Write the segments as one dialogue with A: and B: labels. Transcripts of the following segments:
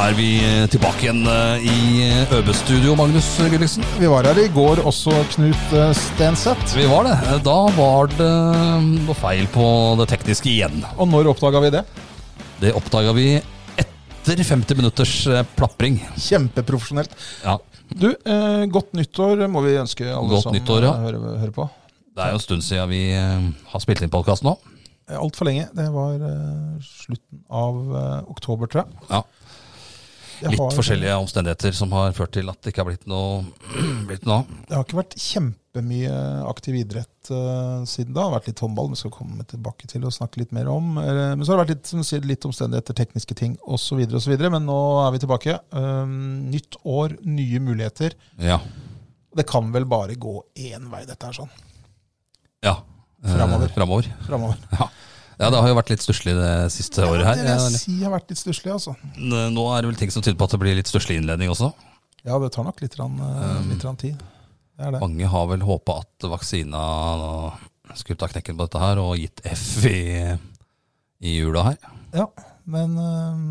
A: er vi tilbake igjen eh, i Øbestudio, Magnus Gulliksen.
B: Vi var her i går også, Knut eh, Stenseth.
A: Vi var det. Eh, Da var det eh, noe feil på det tekniske igjen.
B: Og når oppdaga vi det?
A: Det oppdaga vi etter 50 minutters eh, plapring.
B: Kjempeprofesjonelt.
A: Ja,
B: Du, eh, godt nyttår må vi ønske alle
A: Godt
B: som
A: nyttår, ja.
B: eh, hører, hører på.
A: Det er jo en stund siden vi eh, har spilt inn podkast nå.
B: Altfor Eh, lenge. Det var eh, slutten av eh, oktober, tror jeg.
A: Ja,
B: Jeg
A: Litt
B: har-
A: forskjellige omstendigheter som har ført til at det ikke har blitt noe, blitt noe av.
B: Det har ikke vært kjempemye aktiv idrett eh, siden da. Det har vært litt håndball, vi skal komme tilbake til og snakke litt mer om. Eh, men så har det vært litt, som du sier, litt omstendigheter, tekniske ting osv. osv. Men nå er vi tilbake. Eh, nytt år, nye muligheter.
A: Ja.
B: Det kan vel bare gå én vei, dette her sånn.
A: ja. Eh,
B: Fremover.
A: Fremover.
B: Fremover.
A: Ja, det har jo vært litt stusslig det siste året her.
B: Det vil jeg si har vært litt stusslig, altså.
A: Eh, Nå er det vel ting som tyder på at det blir litt stusslig innledning også.
B: Ja, det tar nok litt, rann, eh,
A: Um,
B: litt rann tid. Det er det.
A: Mange har vel håpa at vaksina skulle ta knekken på dette her og gitt F i, i jula her.
B: Ja, men eh,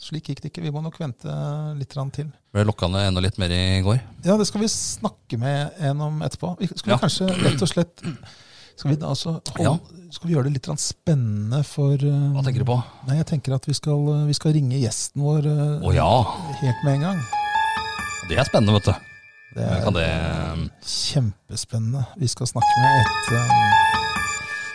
B: slik gikk det ikke. Vi må nok vente litt rann til.
A: Ble lokka ned enda litt mer i går.
B: Ja, det skal vi snakke med en om etterpå. Vi skulle
A: Ja.
B: kanskje rett og slett Skal vi, da altså,
A: Ja.
B: hold, skal vi gjøre det litt rann spennende for eh,
A: Hva tenker du på?
B: Nei, jeg tenker at vi skal, eh, vi skal ringe gjesten vår eh,
A: Å ja,
B: helt med en gang.
A: det er spennende, vet du.
B: Det
A: Men
B: er
A: Kan det
B: Kjempespennende. Vi skal snakke med et eh,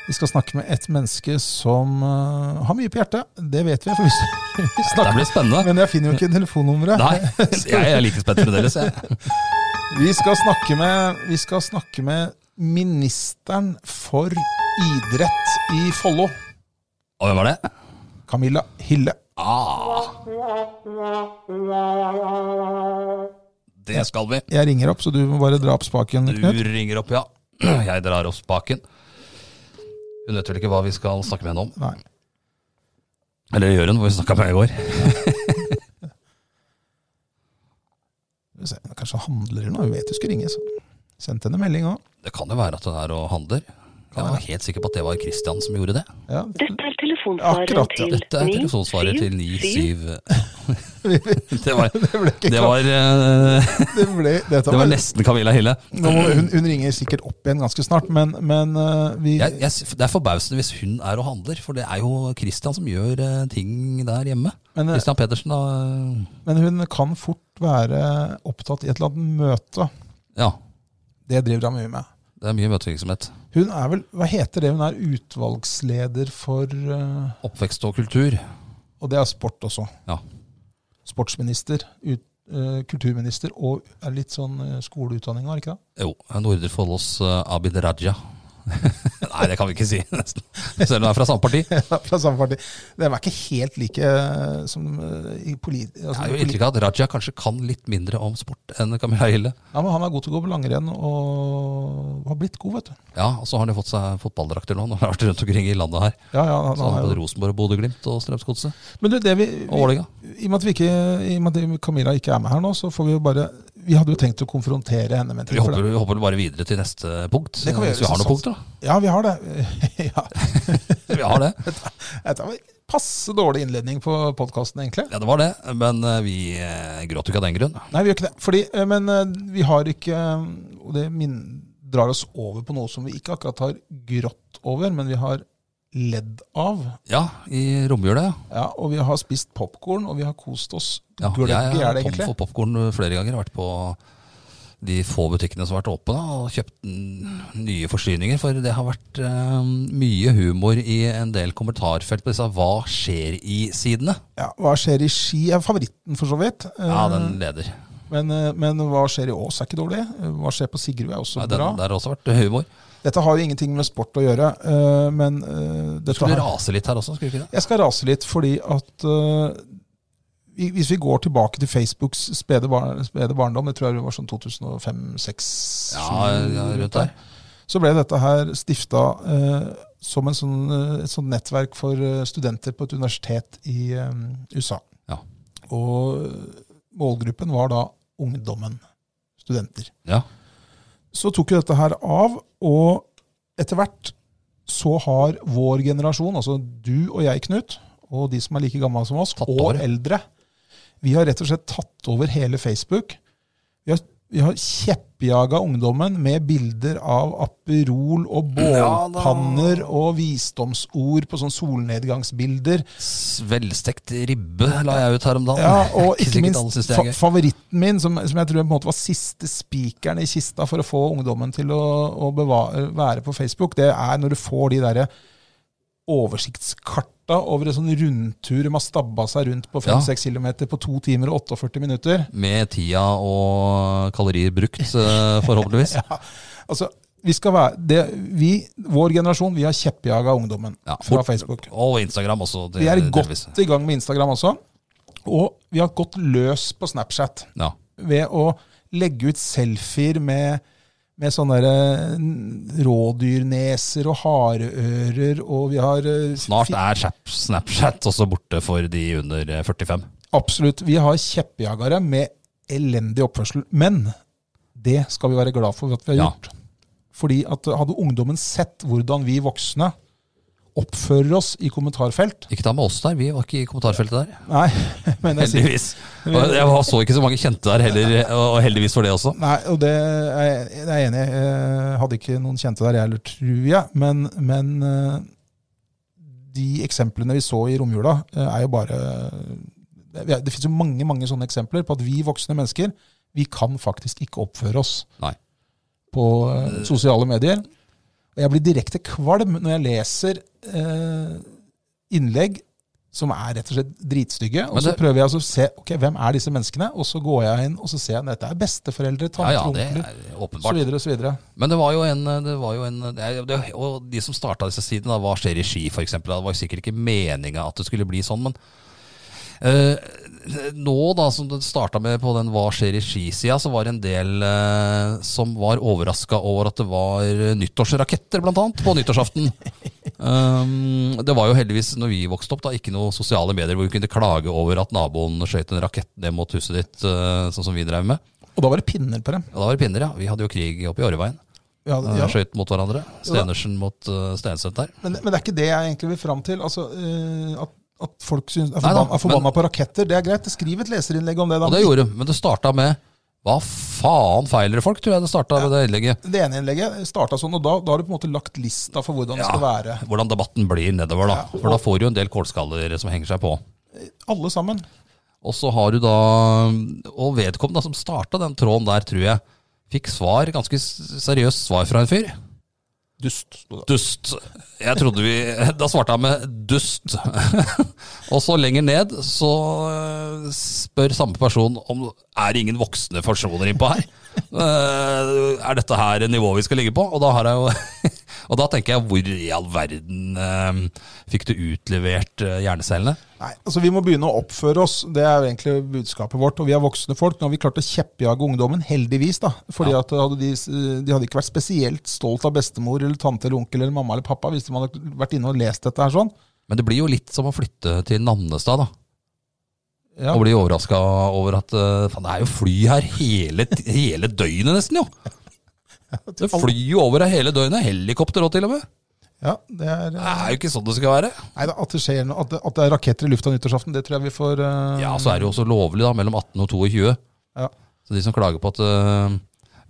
B: vi skal snakke med et menneske som eh, har mye på hjertet. Det vet vi, for vi, vi
A: Det
B: snakker
A: blir spennende.
B: Men jeg finner jo ikke telefonnummeret.
A: Nei, jeg er like spent fremdeles, jeg.
B: Vi skal snakke med Vi skal snakke med ministeren for idrett i Follo.
A: Og hvem var det? Ah.
B: Camilla Hille.
A: Det skal vi.
B: Jeg ringer opp, så du må bare dra opp spaken, Knut.
A: Du ringer opp, ja. Jeg drar opp spaken. Hun vet vel ikke hva vi skal snakke med henne om.
B: Nei.
A: Eller gjør hun, hvor vi snakka med henne i går.
B: Skal vi se, Kanskje han handler eller noe. Hun vet du skulle ringe. Så. Sendte henne melding òg.
A: Det kan jo være at hun er og handler. Jeg var helt sikker på at det var Christian som gjorde det.
B: Ja.
C: Dette er telefonsvaret
B: Akkurat, ja.
C: til
A: Dette er
C: 9,
A: telefonsvaret til
C: 7,
A: 97 Det var, det var, eh,
B: Det ble, dette
A: det var
B: var-
A: nesten Camilla Hille.
B: Nå må, hun, hun ringer sikkert opp igjen ganske snart, men, men eh, vi
A: Jeg, jeg, det er forbausende hvis hun er og handler, for det er jo Christian som gjør eh, ting der hjemme.
B: Men, eh,
A: Christian Pedersen, da. eh,
B: Men hun kan fort være opptatt i et eller annet møte.
A: Ja.
B: Det driver hun mye med.
A: Det er mye møtevirksomhet.
B: Hun er vel, hva heter det, hun er utvalgsleder for eh,
A: Oppvekst og kultur.
B: Og det er sport også.
A: Ja.
B: Sportsminister, ut, eh, kulturminister og er litt sånn eh, skoleutdanning, var det ikke det?
A: Jo, Nordre Follos eh, Abid Raja. Nei, det kan vi ikke si, nesten. Selv om hun er fra samme parti.
B: Ja, Fra samme parti. De er ikke helt like eh, som eh, i polit...
A: Jeg
B: Altså,
A: har jo
B: polit
A: inntrykk av at Raja kanskje kan litt mindre om sport enn Camilla Hille.
B: ja, men han er god til å gå på langrenn og har blitt god, vet du.
A: Ja, og så har han jo fått seg fotballdrakter nå. Når han har vært rundt omkring i landet her.
B: Ja, ja, han,
A: Så han
B: han
A: har
B: er
A: både
B: jo.
A: Rosenborg, og Bodø-Glimt og Strømsgodset.
B: Men du, det vi,
A: Og
B: vi
A: Vålerenga.
B: I og med at vi ikke, i og med at Camilla ikke er med her nå, så får vi jo bare Vi hadde jo tenkt å konfrontere henne med en ting.
A: Vi
B: for
A: hopper, vi hopper bare videre til neste punkt. Eh,
B: Det kan vi gjøre,
A: hvis vi har noen
B: sånn.
A: punkter, da.
B: det- Ja, vi har det. ja.
A: Vi har det.
B: Dette var passe dårlig innledning på podkasten, egentlig.
A: Ja, det var det. Men eh, vi eh, gråt jo ikke av den grunn.
B: Nei, vi gjør ikke det. Fordi, eh, men eh, vi har ikke eh, Og det min, drar oss over på noe som vi ikke akkurat har grått over, men vi har ledd av.
A: Ja, i romjula, ja.
B: Ja, og vi har spist popkorn, og vi har kost oss
A: ja.
B: gløgg
A: Jeg
B: er
A: er
B: det
A: tom
B: egentlig.
A: for popkorn flere ganger. Vært på de få butikkene som har vært åpne, da, og kjøpt n- nye forsyninger. For det har vært eh, mye humor i en del kommentarfelt på disse 'hva skjer i'-sidene.
B: Ja, hva skjer i Ski er favoritten, for så vidt. Eh,
A: Ja, den leder.
B: Men, eh, men hva skjer i Ås er ikke dårlig. Hva skjer på Sigrud er også
A: Nei, den,
B: bra.
A: der har også vært humor.
B: Dette har jo ingenting med sport å gjøre, eh, men eh,
A: Du
B: dette
A: skulle
B: her
A: rase litt her også, skulle du ikke det?
B: Jeg skal rase litt fordi at eh, vi- Hvis vi går tilbake til Facebooks spede, bar spede barndom, det tror jeg det var sånn 2005-2006
A: Ja, ja, rundt der.
B: Så ble dette her stifta eh, som en sånn, eh, et sånt nettverk for eh, studenter på et universitet i eh, USA.
A: Ja.
B: Og eh, målgruppen var da ungdommen. Studenter.
A: Ja.
B: Så tok jo dette her av, og etter hvert så har vår generasjon, altså du og jeg, Knut, og de som er like gamle som oss,
A: Tatt
B: og
A: over.
B: eldre, vi har rett og slett tatt over hele Facebook. Vi har, vi har kjeppjaga ungdommen med bilder av Aperol
A: Ja
B: og
A: da.
B: bålpanner og visdomsord på sånn solnedgangsbilder.
A: S- Velstekt ribbe la jeg ut her om dagen.
B: Ja, og
A: Ikke
B: ikke
A: sikkert alle synes
B: minst
A: det er
B: fa
A: gøy.
B: favoritten min, som, som jeg tror på en måte var siste spikeren i kista for å få ungdommen til å, å bevare, være på Facebook, det er når du får de derre oversiktskarta over en sånn rundtur man stabba seg rundt på
A: Ja.
B: 5-6 km på 2 timer og 48 minutter.
A: Med tida og kalorier brukt, eh, forhåpentligvis.
B: Altså, vi skal være, det, vi, Vår generasjon vi har kjeppjaga ungdommen
A: Ja,
B: fra
A: fort-
B: Facebook.
A: Og Instagram også. det-
B: Vi er
A: delvis.
B: godt i gang med Instagram også, og vi har gått løs på Snapchat.
A: Ja.
B: ved å legge ut selfier med, med sånne der, eh, rådyrneser og hareører, og vi har eh,
A: Snart
B: fi-
A: er Snap- Snapchat også borte for de under eh, 45.
B: Absolutt. Vi har kjeppjagere med elendig oppførsel. Men det skal vi være glad for at vi har
A: Ja.
B: gjort. Fordi at hadde ungdommen sett hvordan vi voksne oppfører oss i kommentarfelt
A: Ikke ta med oss der, vi var ikke i kommentarfeltet der.
B: Nei, men jeg sier
A: Heldigvis. Og jeg var- så ikke så mange kjente der heller, og heldigvis for det også.
B: Nei, og det er jeg, det er jeg enig i. Jeg hadde ikke noen kjente der, jeg heller, tror jeg. Men, men eh, de eksemplene vi så i romjula, eh, er jo bare Det, det fins jo mange mange sånne eksempler på at vi voksne mennesker vi kan faktisk ikke oppføre oss
A: Nei.
B: på eh, sosiale medier. Og jeg blir direkte kvalm når jeg leser eh, innlegg som er rett og slett dritstygge. Og
A: Men
B: så
A: det-
B: prøver jeg altså å se ok, hvem er disse menneskene, og så går jeg inn og så ser jeg at dette er besteforeldre,
A: Ja,
B: tanter,
A: ja, det
B: onkler
A: er
B: så
A: åpenbart.
B: videre og så videre.
A: Men det var jo en, det var jo en det er- det, Og de som starta disse sidene, da, hva skjer i ski f.eks.? Det var jo sikkert ikke meninga at det skulle bli sånn, men eh, nå, da, som det starta med på den hva skjer i ski-sida, så var det en del eh, som var overraska over at det var nyttårsraketter, blant annet, på nyttårsaften. Um, det var jo heldigvis, når vi vokste opp, da ikke noe sosiale medier hvor vi kunne klage over at naboen skjøt en rakett ned mot huset ditt, eh, sånn som vi drev med.
B: Og da var det pinner på dem.
A: Ja, da var det pinner, ja. Vi hadde jo krig oppe i Årveien.
B: Ja,
A: Eh,
B: ja.
A: Skøyt mot hverandre.
B: Jo da.
A: Stenersen mot uh, Stenseth der.
B: Men, men det er ikke det jeg egentlig vil fram til. Altså, eh, at, at folk syns, er,
A: Nei da,
B: forbanna, er forbanna
A: men-
B: på raketter, det er greit. Skriv et leserinnlegg om det. da.
A: Og det gjorde de, men det starta med Hva faen feiler det folk, tror jeg det starta med det innlegget.
B: Det ene innlegget starta sånn, og da, da har du på en måte lagt lista for hvordan det skal være.
A: Hvordan debatten blir nedover, da. For da får du jo en del kålskaller som henger seg på.
B: Alle sammen.
A: Og så har du da Og vedkommende som starta den tråden der, tror jeg, fikk svar, ganske s- seriøst svar fra en fyr.
B: Dust. sto det.
A: Dust. Jeg trodde vi Da svarte han med dust. og så lenger ned så eh, spør samme person om er det ingen voksne personer innpå her. Eh, Er dette her nivået vi skal ligge på? Og da har jeg jo Og da tenker jeg hvor i all verden eh, fikk du utlevert eh, hjernecellene?
B: Nei, altså Vi må begynne å oppføre oss. Det er jo egentlig budskapet vårt. Og vi er voksne folk. Nå har vi klart å kjeppjage ungdommen, heldigvis. da. Fordi
A: Ja.
B: at hadde de, de hadde ikke vært spesielt stolt av bestemor eller tante eller onkel eller mamma eller pappa hvis de hadde vært inne og lest dette her sånn.
A: Men det blir jo litt som å flytte til Nannestad, da.
B: Ja.
A: Og bli overraska over at eh, faen, det er jo fly her hele, t- hele døgnet, nesten, jo. Det flyr jo over her hele døgnet. Helikopter òg, til og med.
B: Ja, det er...
A: Det er jo ikke sånn det skal være.
B: Nei, da, at det skjer noe, at det, at det er raketter i lufta nyttårsaften, det tror jeg vi får eh,
A: Ja, Så er det jo også lovlig, da, mellom 18 og 22.
B: Ja.
A: Så de som klager på at uh,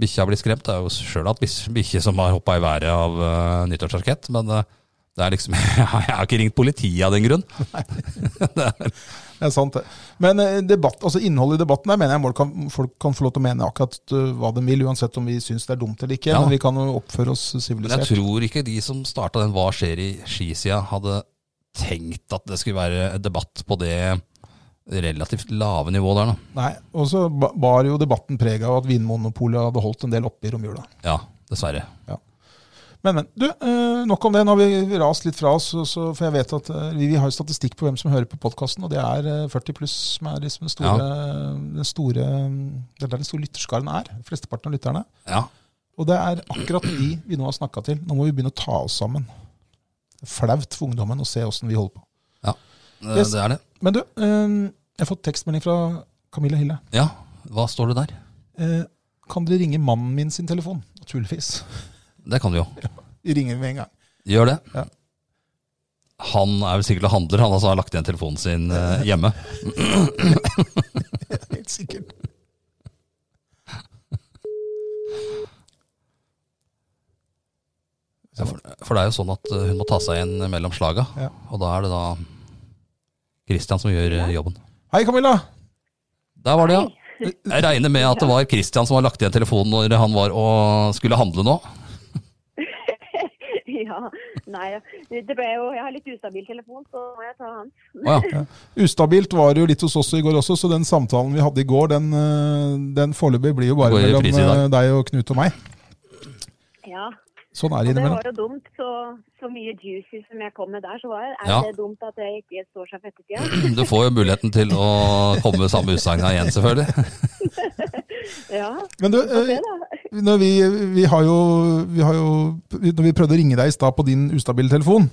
A: bikkja blir skremt, det er jo sjøl at bis- bikkje som har hoppa i været av eh, nyttårsrakett. Men eh, det er liksom Jeg har ikke ringt politiet av den grunn.
B: Det er sant, det. Men eh, debatt, altså innholdet i debatten der mener jeg folk kan, folk kan få lov til å mene akkurat eh, hva de vil, uansett om vi syns det er dumt eller ikke.
A: Ja.
B: Men vi kan jo oppføre oss
A: Men jeg
B: sivilisert.
A: tror ikke de som starta den Hva skjer i skisida, hadde tenkt at det skulle være en debatt på det relativt lave nivået der, da.
B: Nei, Og så ba- bar jo debatten preg av at Vinmonopolet hadde holdt en del oppe i romjula.
A: Ja, dessverre.
B: Men, men. Du, eh, nok om det. Nå har vi rast litt fra oss. og så- for jeg vet at eh, vi, vi har jo statistikk på hvem som hører på podkasten, og det er eh, 40 pluss som er liksom den store, den store Det er der den store lytterskaren er. Flesteparten av lytterne.
A: Ja.
B: Og det er akkurat de vi nå har snakka til. Nå må vi begynne å ta oss sammen. Det er flaut for ungdommen å se åssen vi holder på.
A: Det,
B: Yes.
A: det er det.
B: Men du, eh, jeg har fått tekstmelding fra Camilla Hille.
A: Ja. Hva står det der?
B: Eh, kan dere ringe mannen min sin telefon? Naturligvis.
A: Det kan du jo.
B: De ringer med en gang.
A: Gjør det.
B: Ja.
A: Han er vel sikkert og handler, han altså har lagt igjen telefonen sin eh, hjemme.
B: Helt sikkert.
A: Ja, for, for det er jo sånn at eh, hun må ta seg igjen mellom slaga,
B: Ja.
A: og da er det da Christian som gjør eh, jobben.
B: Hei, Camilla!
A: Der var det, ja. Jeg regner med at det var Christian som har lagt igjen telefonen når han var og skulle handle nå.
C: ja. Nei, det ble jo Jeg har litt ustabil telefon, så må jeg ta han.
A: Å ja.
B: Ustabilt var det jo litt hos oss i går også, så den samtalen vi hadde i går, den, eh, den foreløpig blir jo bare
A: Går i
B: mellom
A: reprise i dag.
B: eh, deg og Knut og meg.
C: Ja.
B: Sånn er
C: Og
B: det
C: det
B: innimellom.
C: var jo dumt. Så, så mye juicy som jeg kom med der, så var, er
A: Ja.
C: det dumt at det ikke står seg for ettertida.
A: Du får jo muligheten til å komme med samme utsagna igjen, selvfølgelig.
C: Ja.
B: Men du,
C: Få se,
B: eh,
C: da.
B: når vi, vi, har jo, vi har jo Når vi prøvde å ringe deg i stad på din ustabile telefon,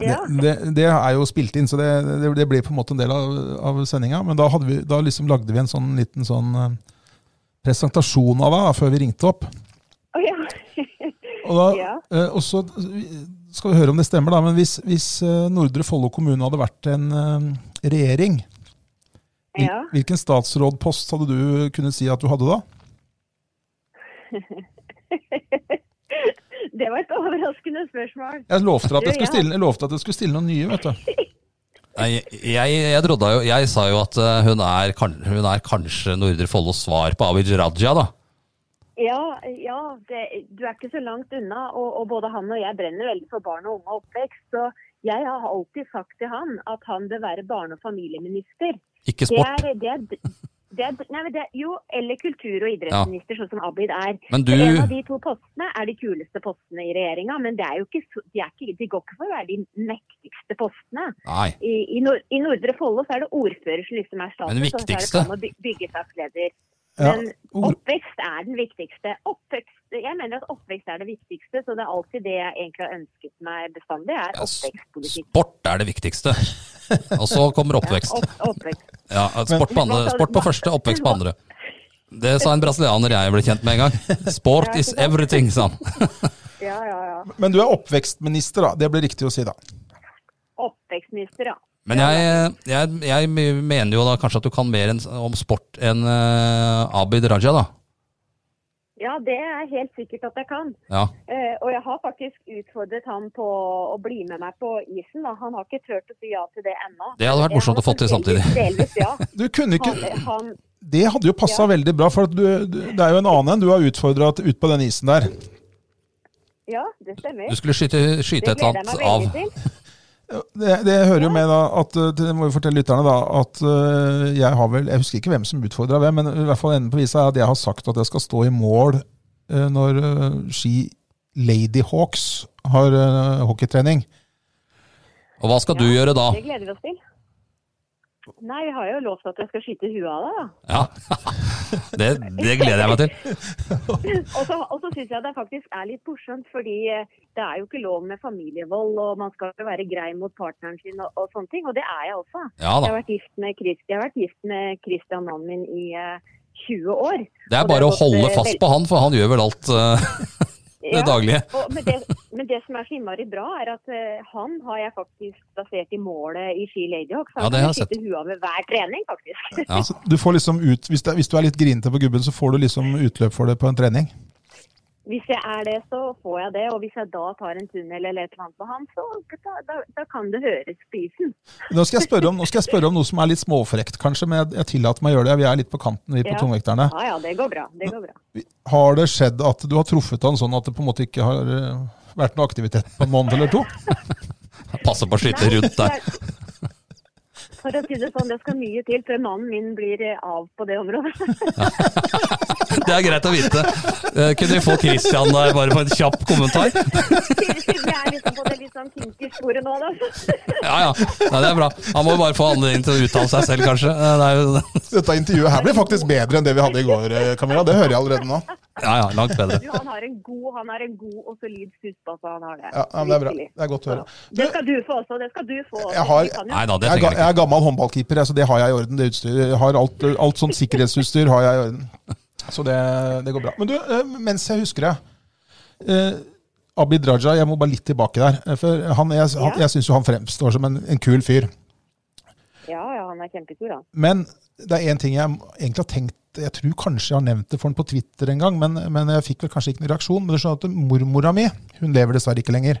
C: Ja.
B: det, det, det er jo spilt inn, så det, det, det blir på en måte en del av, av sendinga. Men da, hadde vi, da liksom lagde vi en sånn liten sånn eh, presentasjon av deg da, før vi ringte opp.
C: Å, ja.
B: Og, da,
C: Ja.
B: eh, og så skal vi høre om det stemmer, da, men hvis, hvis eh, Nordre Follo kommune hadde vært en eh, regjering, hvil-
C: Ja.
B: hvilken statsrådpost hadde du kunnet si at du hadde da?
C: Det var et overraskende spørsmål.
B: Jeg lovte at jeg
C: Du,
B: skulle
C: ja.
B: stille, jeg lovte at jeg skulle stille noen nye, vet du.
A: Nei, Jeg, jeg, drodda jo, jeg sa jo at eh, hun er, kan, hun er kanskje Nordre Follos svar på Abid Raja, da.
C: Ja, ja det, du er ikke så langt unna. Og, og både han og jeg brenner veldig for barn og unge og oppvekst. Så jeg har alltid sagt til han at han bør være barne- og familieminister.
A: Ikke
C: Det
A: sport.
C: er, det er, det er, nei, men det er, jo, eller kultur- og idrettsminister, sånn som Abid er.
A: Men du
C: Så En av de to postene er de kuleste postene i regjeringa, men det er jo ikke, så- de, er ikke, de går ikke for å være de mektigste postene.
A: Nei.
C: I, i, nord, i Nordre Follo så er det ordfører som liksom er staten,
A: Men det
C: så
A: viktigste?
C: er det plan- og by- byggesakleder.
B: Ja,
C: Men
B: ord-
C: oppvekst er den viktigste. Oppvekst, jeg mener at oppvekst er det viktigste, så det er alltid det jeg egentlig har ønsket meg bestandig, er
A: Ja, s-
C: oppvekstpolitikk.
A: Sport er det viktigste. Og så kommer
C: Ja,
A: oppvekst.
C: opp- oppvekst.
A: Ja, sport på, andre, sport på første, oppvekst på andre. Det sa en brasilianer jeg ble kjent med en gang. Sport is everything, sa han.
C: Ja, ja, ja.
B: Men du er oppvekstminister, da. Det ble riktig å si, da.
C: Oppvekstminister, ja.
A: Men jeg, jeg, jeg mener jo da kanskje at du kan mer enn- om sport enn eh, Abid Raja, da.
C: Ja, det er helt sikkert at jeg kan.
A: Ja.
C: Eh, og jeg har faktisk utfordret han på å bli med meg på isen. Da. Han har ikke turt å si ja til det ennå.
A: Det hadde vært morsomt å få til samtidig.
C: Delvis, delvis ja.
B: Du kunne ikke,
C: Han, han,
B: det hadde jo passa veldig bra, for at du, du- det er jo en annen enn du har utfordra ut på den isen der.
C: ja, det stemmer.
A: Du skulle skyte, skyte
C: Det
A: et eller
C: gleder jeg
A: annet
C: meg
A: av.
C: veldig til.
B: Det, det hører jo med da, at eh, det må vi fortelle lytterne da, at eh, jeg har vel, jeg husker ikke hvem som utfordra hvem, men i hvert fall enden på visa er at jeg har sagt at jeg skal stå i mål eh, når eh, Ski Lady Hawks har eh, hockeytrening.
A: Og hva skal du gjøre da?
C: Det gleder vi oss til. Nei, vi har jo lovt at jeg skal skyte huet av deg, da.
A: Ja. Det, det gleder jeg meg til.
C: Og så, og så syns jeg det faktisk er litt morsomt, fordi eh, det er jo ikke lov med familievold, og man skal jo være grei mot partneren sin og, og sånne ting, og det er jeg også.
A: Ja
C: Jeg
A: da.
C: har vært gift med Christ- jeg har vært gift med Christian, mannen min, i eh, 20 år.
A: Det er bare å holde fast på han, for han gjør vel alt eh, det daglige.
C: Og, men, det, men det som er så innmari bra, er at eh, han har jeg faktisk basert i målet i Ski Ladyhawk.
A: Ja, det har jeg sett.
C: Sitter huet ved hver trening, faktisk.
A: Ja.
B: Så du får liksom ut, hvis, det, hvis du er litt grinete på gubben, så får du liksom utløp for det på en trening.
C: Hvis jeg er det, så får jeg det. Og hvis jeg da tar en tunnel eller et eller annet på han, så da, da, da kan det høres på isen.
B: Nå skal jeg spørre om, nå skal jeg spørre om noe som er litt småfrekt, kanskje, men jeg, jeg tillater meg å gjøre det. Vi er litt på kanten, vi på
C: Ja.
B: tungvekterne.
C: Ja ja, det går bra. Det går bra.
B: Har det skjedd at du har truffet han sånn at det på en måte ikke har eh, vært noe aktivitet på en måned eller to?
A: Passe på å skyte
C: Nei,
A: rundt der.
C: det er- For å si det sånn, det skal mye til før mannen min blir eh, av på det området.
A: Det er greit å vite. Eh, Kunne vi få Christian der bare for en kjapp kommentar?
C: Vi er liksom på det litt sånn kinky sporet nå, da.
A: Ja, ja. Nei, det er bra. Han må jo bare få anledning til å uttale seg selv, kanskje. Eh, Det er jo,
B: Dette intervjuet her blir faktisk bedre enn det vi hadde i går, eh, Camilla. Det hører jeg allerede nå.
A: ja, ja, langt bedre.
C: Du, han har en god, han har en god og solid fussbasse, han har det.
B: Ja, ja, men det er bra.
C: Virkelig.
B: Det er godt å høre.
C: Det skal du få også. Det skal du få. også.
B: Jeg har-
C: Vi kan jo-
A: Nei da, det
B: Jeg er,
A: trenger
B: ga- jeg
A: jeg ikke.
B: er gammel håndballkeeper, altså det har jeg i orden. Det utstyret. Jeg har alt, alt sånt sikkerhetsutstyr har jeg i orden. Så det, det går bra. Men du, eh, mens jeg husker det eh, Abid Raja, jeg må bare litt tilbake der. eh, For han, jeg han, jeg syns jo han fremstår som en, en kul fyr.
C: Ja, ja, han er kjempekul, han.
B: Men det er én ting jeg egentlig har tenkt Jeg tror kanskje jeg har nevnt det for han på Twitter en gang, men, men jeg fikk vel kanskje ikke noen reaksjon. Men du skjønner at mormora mi hun lever dessverre ikke lenger.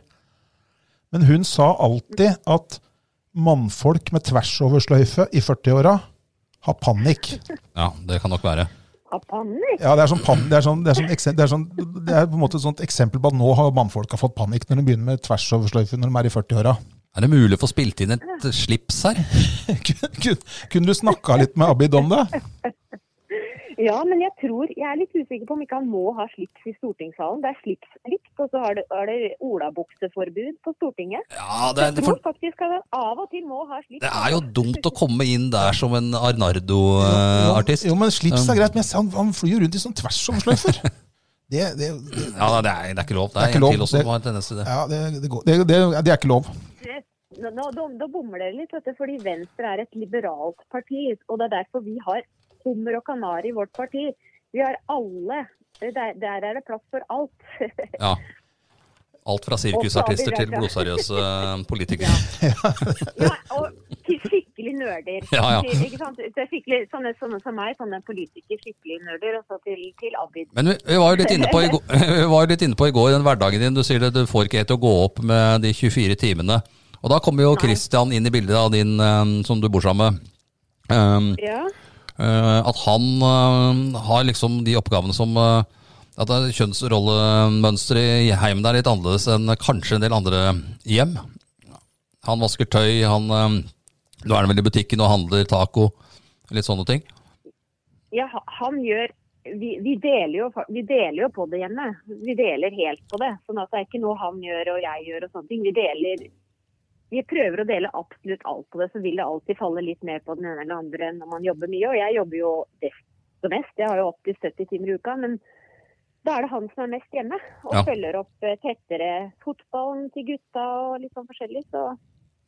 B: Men hun sa alltid at mannfolk med tvers over sløyfe i 40-åra har panikk.
A: Ja, det kan nok være.
C: Har panikk?
B: Ja, det er, sånn pan, det, er sånn, det, er sånn, ekse- det, er sånn, det er på en måte et sånt eksempel på at nå har mannfolka fått panikk når de begynner med tvers over sløyfe når de er i 40-åra.
A: Er det mulig å få spilt inn et eh, slips her?
B: Kun- kun- Kunne du snakka litt med Abid om det?
C: Ja, men jeg tror Jeg er litt usikker på om ikke han må ha slips i stortingssalen. Det er slipsplikt, og så har det, er det olabukseforbud på Stortinget.
A: Ja, det,
C: Jeg
A: er- for
C: tror faktisk at han av og til må ha slips.
A: det er jo dumt å komme inn der som en Arnardo-artist.
B: Jo, men slips er greit, men jeg ser han, han flyr jo rundt i sånn tvers over sløyfer. Det, det, det,
A: Ja, det er, det er ikke lov. Det
B: Det er
A: er
B: ikke
A: en
B: lov.
A: til også
B: Det-
A: som har en tendens til det.
B: ja, det, det, går, det, det, det er ikke lov.
C: Det- Nå, nå, da, da bommer dere litt, vet du, fordi Venstre er et liberalt parti. Og det er derfor vi har hummer og kanari i vårt parti. Vi har alle. Der, der er det plass for alt.
A: Ja. Alt fra sirkusartister til blodseriøse eh, politikere.
C: Ja, og til skikkelig nerder.
A: Ja, ja.
C: Til, ikke sant? Til skikkelig, sånne, sånne som meg, sånne politikere, skikkelig nerder. Og så til, til Abid.
A: Men vi, vi var jo litt inne på i, går- vi var jo litt inne på i går den hverdagen din. Du sier det, du får ikke helt til å gå opp med de 24 timene. Og da kommer jo Christian inn i bildet av din eh, som du bor sammen med. Um,
C: Ja.
A: eh, at han eh, har liksom de oppgavene som eh, At det er kjønnsrollemønsteret i heimen er litt annerledes enn kanskje en del andre hjem. Han vasker tøy, han eh, Nå er han vel i butikken og handler taco. Litt sånne ting.
C: ja ha- han gjør vi, vi, deler jo, fa- vi deler jo på det hjemme. Vi deler helt på det. Sånn at det er ikke noe han gjør og jeg gjør og sånne ting. Vi deler vi prøver å dele absolutt alt på det, så vil det alltid falle litt mer på den ene eller andre når man jobber mye. Og jeg jobber jo desto mest. Jeg har jo opptil 70 timer i uka. Men da er det han som er mest hjemme og
A: Ja.
C: følger opp eh, tettere fotballen til gutta og litt sånn forskjellig. Så,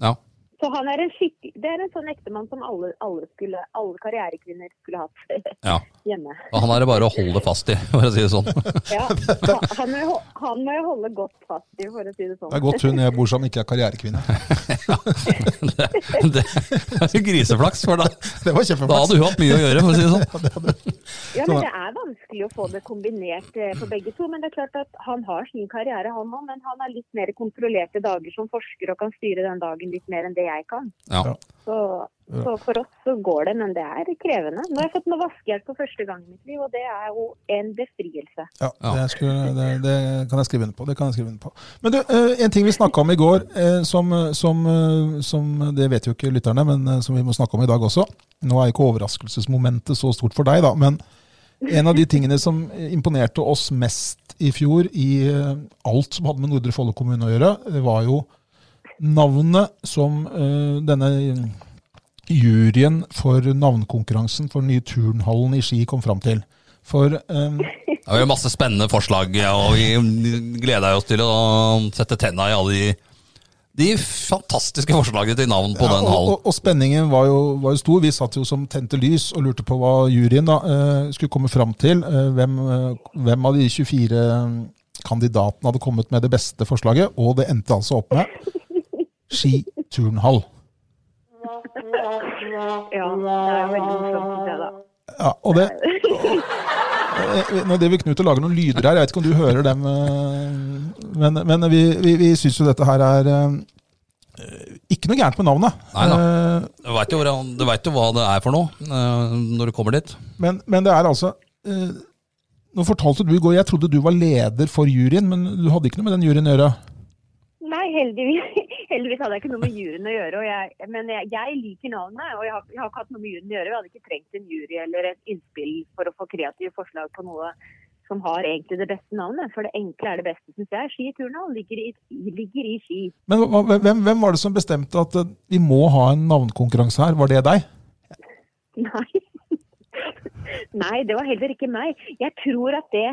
A: Ja.
C: så han er en skikkelig Det er en sånn ektemann som alle, alle, skulle, alle karrierekvinner skulle hatt
A: Ja.
C: hjemme.
A: Og han er det bare å holde fast i, for å si det sånn.
C: Ja, han- han, må jo- han må jo holde godt fast i, for å si det sånn.
B: Det er godt hun jeg bor sammen, ikke er karrierekvinne.
A: Det, det er jo griseflaks, for da,
B: Det var
A: da
B: kjempeflaks.
A: hadde hun hatt mye å gjøre, for å si det sånn.
C: Ja, men Det er vanskelig å få det kombinert eh, for begge to. Men det er klart at han har sin karriere, han òg. Men han har litt mer kontrollerte dager som forsker og kan styre den dagen litt mer enn det jeg kan.
A: Ja.
C: Så, så for oss så går det, men det er krevende. Nå har jeg fått med vaskehjelp for første gang i mitt liv, og det er jo en befrielse.
B: Ja, det, skulle, det, det kan jeg skrive under på. Det kan jeg skrive under på. Men du, eh, en ting vi snakka om i går, eh, som, som, eh, som Det vet jo ikke lytterne, men eh, som vi må snakke om i dag også. Nå er jo ikke overraskelsesmomentet så stort for deg, da. Men en av de tingene som imponerte oss mest i fjor i eh, alt som hadde med Nordre Follo kommune å gjøre, det var jo navnet som eh, denne juryen for navnkonkurransen for den nye turnhallen i Ski kom fram til. For eh,
A: Det var jo masse spennende forslag, ja, og vi gleda oss til å sette tenna i alle de, de fantastiske forslagene til navn på den
B: Ja, og,
A: hallen.
B: og, og spenningen var jo, var jo stor. Vi satt jo som tente lys og lurte på hva juryen da, eh, skulle komme fram til. Eh, hvem, eh, hvem av de 24 kandidatene hadde kommet med det beste forslaget, og det endte altså opp med Ski turnhall.
C: Ja, det er veldig morsomt, synes jeg, da.
B: Ja, og det, Eh, Nå driver Knut og lager noen lyder her, jeg vet ikke om du hører dem. eh, Men, men vi, vi, vi syns jo dette her er eh, ikke noe gærent med navnet.
A: Nei
B: Eh,
A: Du veit jo, hvordan- du vet jo hva det er for noe eh, når du kommer dit.
B: Men, men det er altså eh, Nå fortalte du i går, jeg trodde du var leder for juryen, men du hadde ikke noe med den juryen å gjøre.
C: Nei, heldigvis, Heldigvis hadde jeg ikke noe med juryen å gjøre. Og jeg, men jeg, jeg liker navnet, og jeg har, jeg har ikke hatt noe med juryen å gjøre. Jeg hadde ikke trengt en jury eller et innspill for å få kreative forslag på noe som har egentlig det beste navnet. For det enkle er det beste, syns jeg. Skiturnhall ligger, i- ligger i Ski.
B: Men hva- hva- hvem, hvem var det som bestemte at eh, vi må ha en navnkonkurranse her? Var det deg?
C: Nei. Nei, det var heller ikke meg. Jeg tror at det,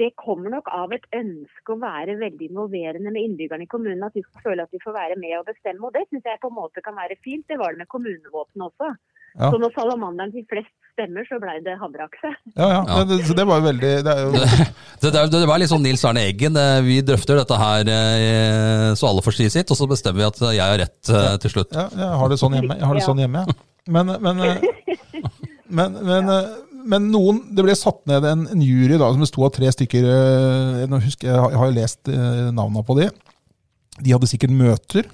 C: det kommer nok av et ønske å være veldig involverende med innbyggerne i kommunen. At de skal føle at de får være med og bestemme. Og det syns jeg på en måte kan være fint. Det var det med kommunevåpenet også.
B: Ja.
C: Så når salamanderen fikk flest stemmer, så blei det havreakse.
B: Ja, ja.
A: Ja.
B: Men Det, så det var jo veldig det er jo,
A: Det, det, er- det var litt sånn Nils Arne Eggen. eh, Vi drøfter dette her eh, så alle får si sitt, og så bestemmer vi at jeg har rett eh, til slutt.
B: ja, Jeg har det sånn hjemme. Jeg har det
C: Ja.
B: sånn hjemme, jeg. Men, men, eh, men, men, eh, men noen Det ble satt ned en, en jury da, som besto av tre stykker eh, Nå husker jeg, jeg har- jeg har jo lest eh, navnene på de. De hadde sikkert møter.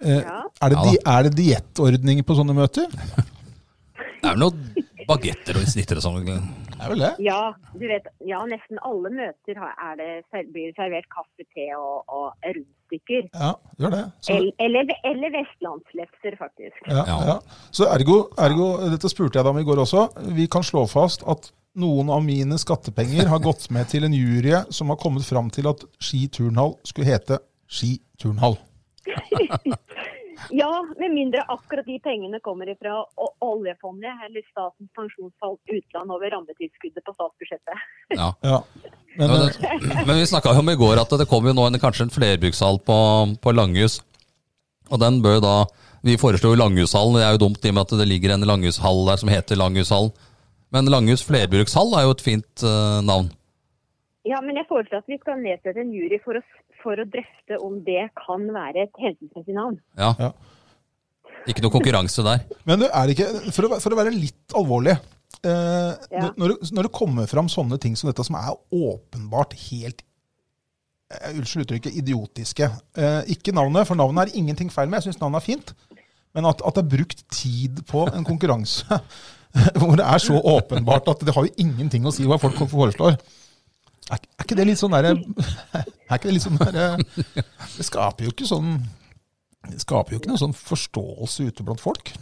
B: Eh,
C: Ja.
B: Er det,
A: Ja da.
B: di, er det diettordninger på sånne møter?
A: Det er vel noen bagetter og snitter og sånn.
B: Det er vel det.
C: Ja, du vet, ja, nesten alle møter har- er det, ser- blir servert kaffe, te og, og rundstykker.
B: Ja, gjør det. Så-
C: Eller, eller, eller vestlandslepser, faktisk.
B: Ja,
A: Ja.
B: ja. Så ergo, ergo, dette spurte jeg deg om i går også, vi kan slå fast at noen av mine skattepenger har gått med til en jury som har kommet fram til at Ski turnhall skulle hete Ski turnhall.
C: Ja, med mindre akkurat de pengene kommer fra oljefondet eller Statens pensjonsfond utland over rammetilskuddet på statsbudsjettet.
A: Ja.
B: Ja. Men,
A: Men,
B: eh,
A: det, men vi snakka jo om i går at det kommer jo nå en, kanskje en flerbrukshall på, på Langhus. Og den bør jo da Vi foreslo jo Langhushallen, det er jo dumt i og med at det ligger en langhushall der som heter Langhushallen. Men Langhus flerbrukshall er jo et fint eh, navn.
C: Ja, men jeg foreslår at vi skal nedsette en jury for å, for å drøfte om det kan være et hensiktsmessig navn.
A: Ja.
B: Ja.
A: Ikke noe konkurranse der.
B: men du, er det ikke, for å, være- for å være litt alvorlig, eh,
C: Ja.
B: når, når det- når det kommer fram sånne ting som dette, som er åpenbart helt eh, Unnskyld uttrykket, idiotiske. Eh, ikke navnet, for navnet er ingenting feil med. Jeg syns navnet er fint. Men at, at det er brukt tid på en konkurranse hvor det er så åpenbart at det har jo ingenting å si hva folk foreslår. Er, ikke- er ikke det litt sånn derre Er ikke det litt sånn derre Det skaper jo ikke sånn det skaper jo ikke noe sånn forståelse ute blant folk.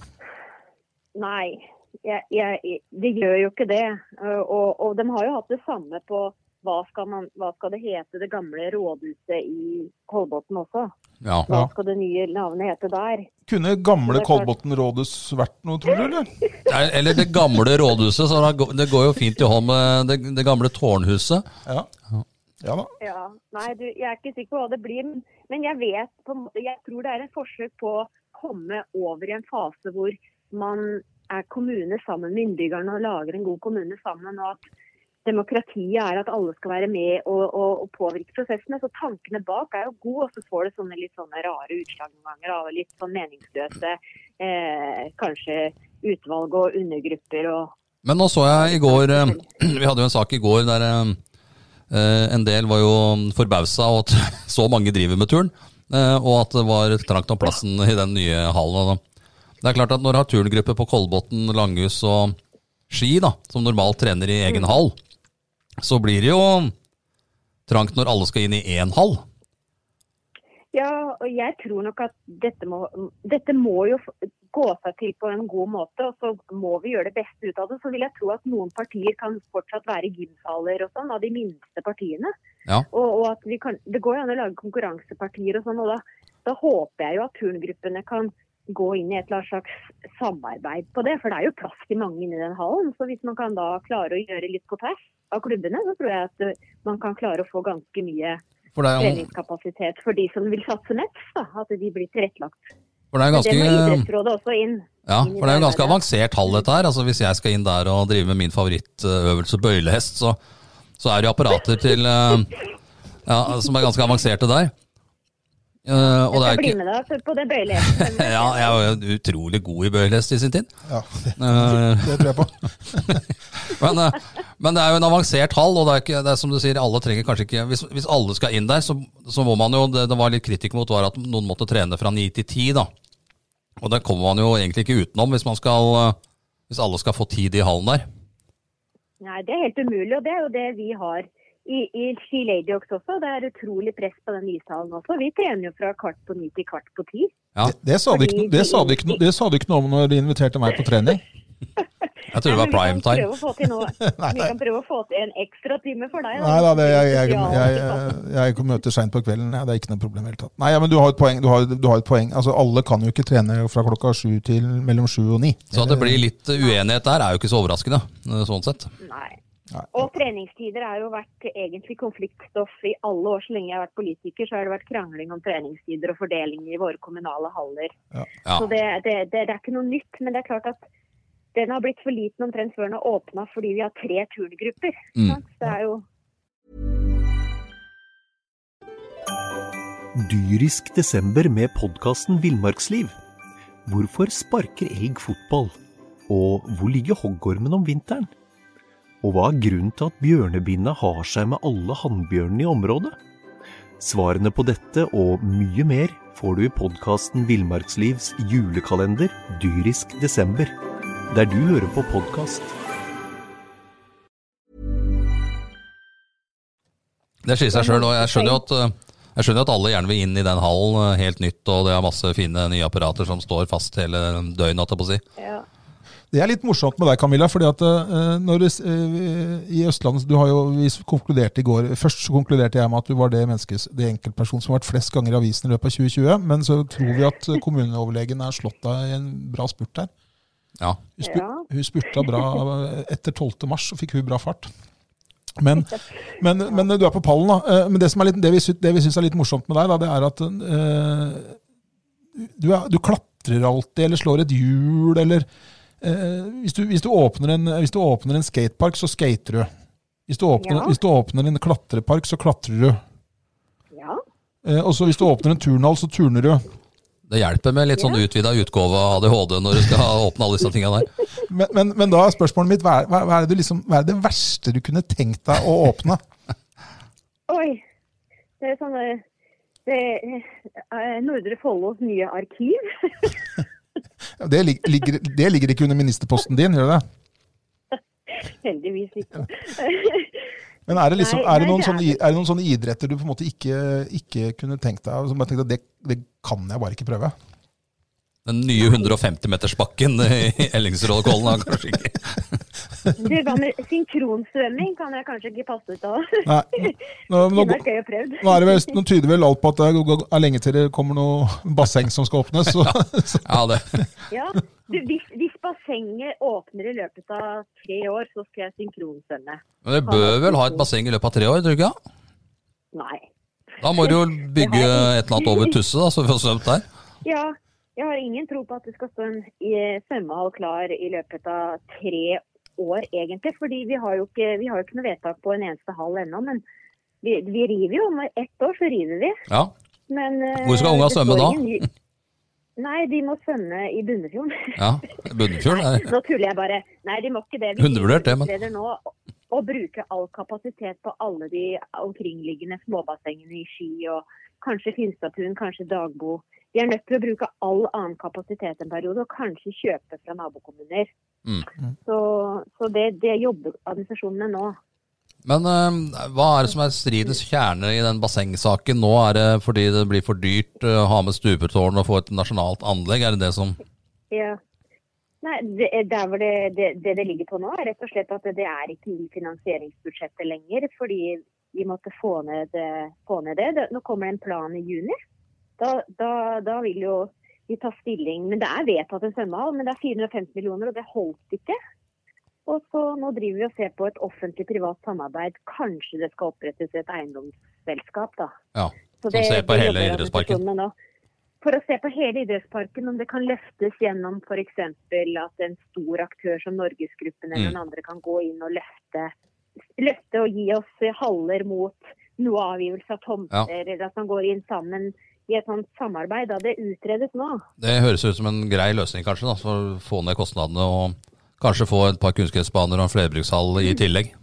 C: Nei, jeg, jeg, de gjør jo ikke det. Uh, Og, og de har jo hatt det samme på hva skal, man, hva skal det hete det gamle rådhuset i Kolbotn også?
A: Ja.
C: Hva
B: Ja.
C: skal det nye navnet hete der?
B: Kunne gamle
C: Det er klart.
B: Kolbotn rådhus vært noe, tror du? eller?
A: Nei, Eller det gamle rådhuset. Så da går- det går jo fint i hånd med det, det gamle tårnhuset.
B: Ja. ja da.
C: Ja, nei, du, jeg er ikke sikker på hva det blir, men- men jeg vet på en måte, jeg tror det er et forsøk på å komme over i en fase hvor man er kommune sammen med innbyggerne og lager en god kommune sammen, og at demokratiet er at alle skal være med og, og, og påvirke prosessene. Så tankene bak er jo gode, og så får det sånne litt sånne rare utslag noen ganger, da, og litt sånn meningsløse eh, kanskje utvalg og undergrupper og
A: Men nå så jeg i går eh, Vi hadde jo en sak i går der eh, eh, en del var jo forbausa over at så mange driver med turn, eh, og at det var trangt om plassen i den nye hallen. og da. Det er klart at når du har turngrupper på Kolbotn, Langhus og Ski, da, som normalt trener i egen hall, så blir det jo trangt når alle skal inn i én hall.
C: Ja, og jeg tror nok at dette må, dette må jo gå seg til på en god måte, og så må vi gjøre det beste ut av det. Så vil jeg tro at noen partier kan fortsatt være gymsaler og sånn, av de minste partiene.
A: Ja.
C: Og, og at vi kan, det går jo an å lage konkurransepartier og sånn, og da, da håper jeg jo at turngruppene kan gå inn i et eller annet slags samarbeid på det. For det er jo plass til mange inni den hallen, så hvis man kan da klare å gjøre litt på tvers av klubbene, så tror jeg at eh, man kan klare å få ganske mye
A: For det er jo
C: treningskapasitet for de som vil satse mest. Da, at de blir tilrettelagt.
A: for det er jo
C: Det må
A: ganske
C: Idrettsrådet også inn.
A: Ja,
C: inn i
A: for det er jo ganske
C: arbeidet.
A: avansert hall dette her. Altså, hvis jeg skal inn der og drive med min favorittøvelse bøylehest, så, så er det jo apparater til eh, ja, som er ganske avanserte der. Eh, og det er
C: Jeg skal bli
A: ikke
C: med deg på det bøyelesen.
A: ja, jeg var jo utrolig god i bøylehest i sin tid.
B: Ja, det,
A: Eh,
B: det tror jeg på.
A: men, eh, men det er jo en avansert hall, og det er, ikke, det er som du sier, alle trenger kanskje ikke Hvis, hvis alle skal inn der, så, så må man jo Det, det var litt kritikk mot var at noen måtte trene fra ni til ti, da. Og det kommer man jo egentlig ikke utenom hvis, man skal, eh, hvis alle skal få tid i hallen der.
C: Nei, det er helt umulig, og det er jo det vi har i, i Ski Lady Ox også. Det er utrolig press på den ishallen også. Vi trener jo fra kvart på ni til kvart på ti.
A: Ja.
B: Det, det, sa du ikke, no- det, sa du ikke, no- det sa du ikke noe om når du inviterte meg på trening.
A: Jeg tror det
C: Nei,
A: var
C: men
A: prime
C: vi kan
A: time.
C: prøve å få til noe- Vi kan prøve å få til en ekstra time for deg.
B: Nei da, det, jeg, jeg,
C: Ja,
B: jeg, jeg, jeg møter seint på kvelden. Ja, det er ikke noe problem i det hele tatt. Nei, ja, men du har et poeng. Du har, du har et poeng. Altså, alle kan jo ikke trene fra klokka sju til mellom sju og ni.
A: Så at det blir litt eh, uenighet der, er jo ikke så overraskende. eh, sånn sett.
C: Nei.
B: Nei.
C: Og treningstider har jo vært egentlig konfliktstoff i alle år. Så lenge jeg har vært politiker, så har det vært krangling om treningstider og fordeling i våre kommunale haller.
A: Ja.
C: Så det, det, det, det er ikke noe nytt. Men det er klart at den har blitt for liten omtrent før den har åpna fordi vi har tre turngrupper.
A: Mm.
C: sant? Det er jo
D: Dyrisk desember med podkasten Villmarksliv. Hvorfor sparker elg fotball? Og hvor ligger hoggormen om vinteren? Og hva er grunnen til at bjørnebinna har seg med alle hannbjørnene i området? Svarene på dette og mye mer får du i podkasten Villmarkslivs julekalender Dyrisk desember, der du hører på podkast.
A: Det skiller seg sjøl. Jeg skjønner jo at eh, jeg skjønner jo at alle gjerne vil inn i den hallen, eh, helt nytt, og det er masse fine nye apparater som står fast hele døgnet. holdt jeg på å si.
C: ja.
B: Det er litt morsomt med deg, Camilla. fordi at eh, når du, s- eh, i Østlandet, du har jo, Vi s- konkluderte i går Først så konkluderte jeg med at du var det menneskes, det enkeltperson som har vært flest ganger i avisen i løpet av 2020. Men så tror vi at eh, kommuneoverlegen er slått av i en bra spurt der.
A: Ja.
B: Hun, spur,
C: Ja.
B: hun spurta bra etter 12. mars, så fikk hun bra fart. Men, men, men du er på pallen, da. Eh, Men det, som er litt, det vi, sy- det vi syns er litt morsomt med deg, da, det er at eh, du, er, du klatrer alltid, eller slår et hjul, eller eh, hvis, du, hvis, du åpner en, hvis du åpner en skatepark, så skater du. Hvis du, åpner,
C: Ja.
B: hvis du åpner en klatrepark, så klatrer du.
C: ja.
B: Eh, og så hvis du åpner en turnhall, så turner du.
A: Det hjelper med litt sånn utvida utgave av ADHD når du skal åpne alle disse tinga der.
B: Men, men, men da er spørsmålet mitt, hva er, hva, er det du liksom, hva er det verste du kunne tenkt deg å åpne?
C: Oi. Det er sånn eh, det er Nordre Follos nye arkiv.
B: Ja, Det lig- ligger, det ligger ikke under ministerposten din, gjør det det?
C: Heldigvis ikke.
B: Men er det, liksom,
C: Nei,
B: er det,
C: nei,
B: noen,
C: det er
B: sånne, i- er det noen sånne idretter du på en måte ikke, ikke kunne tenkt deg? Som bare tenkte at det, det kan jeg bare ikke prøve.
A: Den nye 150-metersbakken i Ellingsrådkollen har kanskje ikke
C: Du, hva med synkronsvømming kan jeg kanskje ikke passe ut av.
B: Nei, nå, nå,
C: Det har jeg jo prøvd.
B: nå, er det vel, nå tyder vel alt på at det er- er lenge til det kommer noe basseng som skal åpnes. Så, så,
A: Ja, det.
C: Ja. Du, hvis, hvis bassenget åpner i løpet av tre år, så skal jeg synkronsvømme.
A: Men det bør vel ha et basseng i løpet av tre år, tror du ikke? ja?
C: Nei.
A: Da må du jo bygge et eller annet over Tusse, da, så vi får svømt der.
C: Ja, jeg har ingen tro på at det skal stå en eh, svømmehall klar i løpet av tre år, egentlig. Fordi vi har jo ikke, vi har jo ikke noe vedtak på en eneste hall ennå. Men vi, vi river jo. Om ett år så river vi.
A: Ja.
C: Men, eh,
A: Hvor skal unga
C: det står
A: svømme da?
C: ingen ny- Nei, de må svømme i Bunnefjorden.
A: ja. Bunnefjord er
C: Nå tuller jeg bare. Nei, de må ikke det.
A: Undervurdert det, men-
C: utreder nå å bruke all kapasitet på alle de omkringliggende småbassengene i Ski og kanskje Finstadtun, kanskje Dagbo. Vi er nødt til å bruke all annen kapasitet en periode, og kanskje kjøpe fra nabokommuner.
A: Mm.
C: Så, så det, det jobber administrasjonen med nå.
A: Men eh, hva er det som er stridens kjerne i den bassengsaken? Nå er det fordi det blir for dyrt eh, å ha med stupetårn og få et nasjonalt anlegg, er det det som
C: Ja. Nei, det, der hvor det, det, det det ligger på nå, er rett og slett at det, det er ikke i finansieringsbudsjettet lenger. Fordi vi måtte få ned, få ned det. det. Nå kommer det en plan i juni. Da, da, da vil jo vi ta stilling. Men det er vedtatt en svømmehall, men det er 450 millioner, og det holdt ikke. Og så nå driver vi og ser på et offentlig-privat samarbeid. Kanskje det skal opprettes et eiendomsselskap, da.
A: Ja.
C: Så
A: Som ser på hele
C: jobber jeg med
A: idrettsparken.
C: personene nå. For å se på hele idrettsparken, om det kan løftes gjennom f.eks. at en stor aktør som Norgesgruppen eller
A: Mm.
C: noen andre kan gå inn og løfte, løfte og gi oss haller mot noe avgivelse av tomter, eller at man går inn sammen i et sånt samarbeid. Da det utredes nå.
A: Det høres ut som en grei løsning, kanskje, da, for å få ned kostnadene og kanskje få et par kunstgressbaner og en flerbrukshall
C: Mm.
A: i tillegg.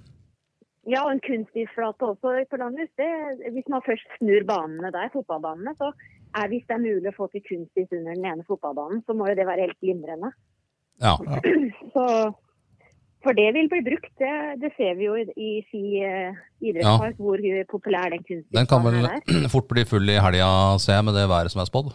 C: Ja, og en kunstisflate også på Langhus. Det- Hvis man først snur banene der, fotballbanene, så er hvis det er mulig å få til kunstis under den ene fotballbanen, så må jo det være helt glimrende.
A: Ja.
C: Så, For det vil bli brukt, det, det ser vi jo i, i Ski eh, idrettspark, hvor eh, populær den kunsten
A: Den kan vel
C: er.
A: fort bli full i helga, ser jeg, med det været som er spådd.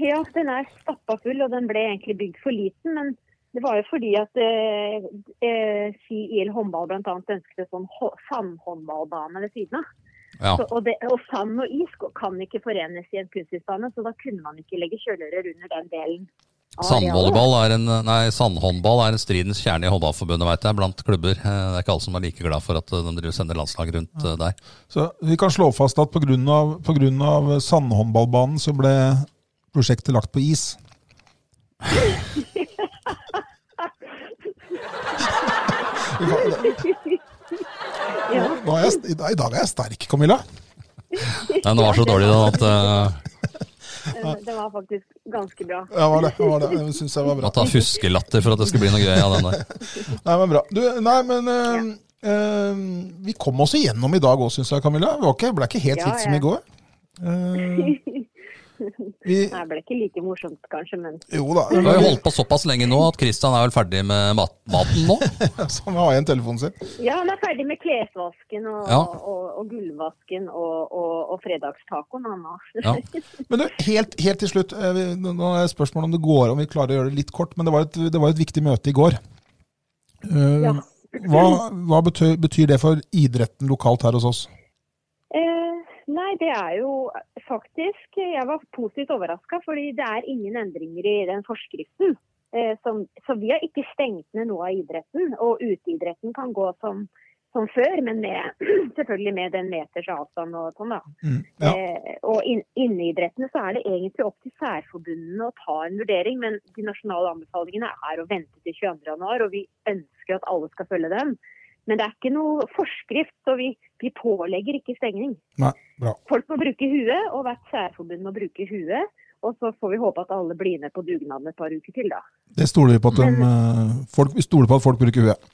C: Ja, den er stappa full, og den ble egentlig bygd for liten. Men det var jo fordi at eh, eh, Ski IL håndball bl.a. ønsket en sånn hå- sandhåndballbane ved siden av.
A: Ja.
C: Så, og, det, og sand og is kan ikke forenes i en kunstgressbane, så da kunne man ikke legge kjølerør under den delen. av arealet.
A: Sandvolleyball er en, nei, sandhåndball er en stridens kjerne i håndballforbundet, veit jeg, blant klubber. Eh, Det er ikke alle som er like glad for at eh, de driver og sender landslag rundt eh, der.
B: Så vi kan slå fast at pga. sandhåndballbanen så ble prosjektet lagt på is. I dag-
C: Ja,
B: Nå er jeg, I dag- i dag er jeg sterk, Camilla.
A: Nei, Den var så dårlig den at, eh,
C: eh, det var faktisk ganske bra.
B: Ja, var det, var det. Jeg syns jeg var bra.
A: at det var fuskelatter for at det skulle bli noe gøy av den der.
B: Nei, men bra. Du, nei, men eh, eh, vi kom oss igjennom i dag òg, syns jeg, Camilla. Det var ikke, ble ikke helt
C: Ja,
B: slik som
C: ja.
B: i går. Eh, vi,
C: Nei, Det ble ikke like morsomt kanskje, men
B: jo da.
A: Vi har jo holdt på såpass lenge nå at Kristian er vel ferdig med mat maten nå?
B: Så han har igjen telefonen sin.
C: ja, han er ferdig med klesvasken og,
A: Ja.
C: og, og, gulvvasken og, og, og fredagstacoen, han nå.
A: Ja.
B: Men du, helt, helt til slutt, eh, vi- nå nå er spørsmålet om det går om vi klarer å gjøre det litt kort, men det var et, det var et viktig møte i går. Eh,
C: Ja.
B: Hva, hva betyr, betyr det for idretten lokalt her hos oss?
C: Eh, nei, det er jo faktisk Jeg var positivt overraska, fordi det er ingen endringer i den forskriften. Eh, som, så vi har ikke stengt ned noe av idretten. Og uteidretten kan gå som, som før, men med, selvfølgelig med den meters avstand og sånn, da.
B: Mm, ja.
C: Eh, og inn- Inneidrettene så er det egentlig opp til særforbundene å ta en vurdering, men de nasjonale anbefalingene er å vente til 22.1, og vi ønsker at alle skal følge dem. Men det er ikke noe forskrift, så vi, vi pålegger ikke stengning.
B: Nei, bra.
C: Folk må bruke huet, og hvert særforbund må bruke huet. Og så får vi håpe at alle blir med på dugnaden et par uker til, da.
B: Det stoler vi på at, de, eh, folk, vi stoler på at folk bruker huet.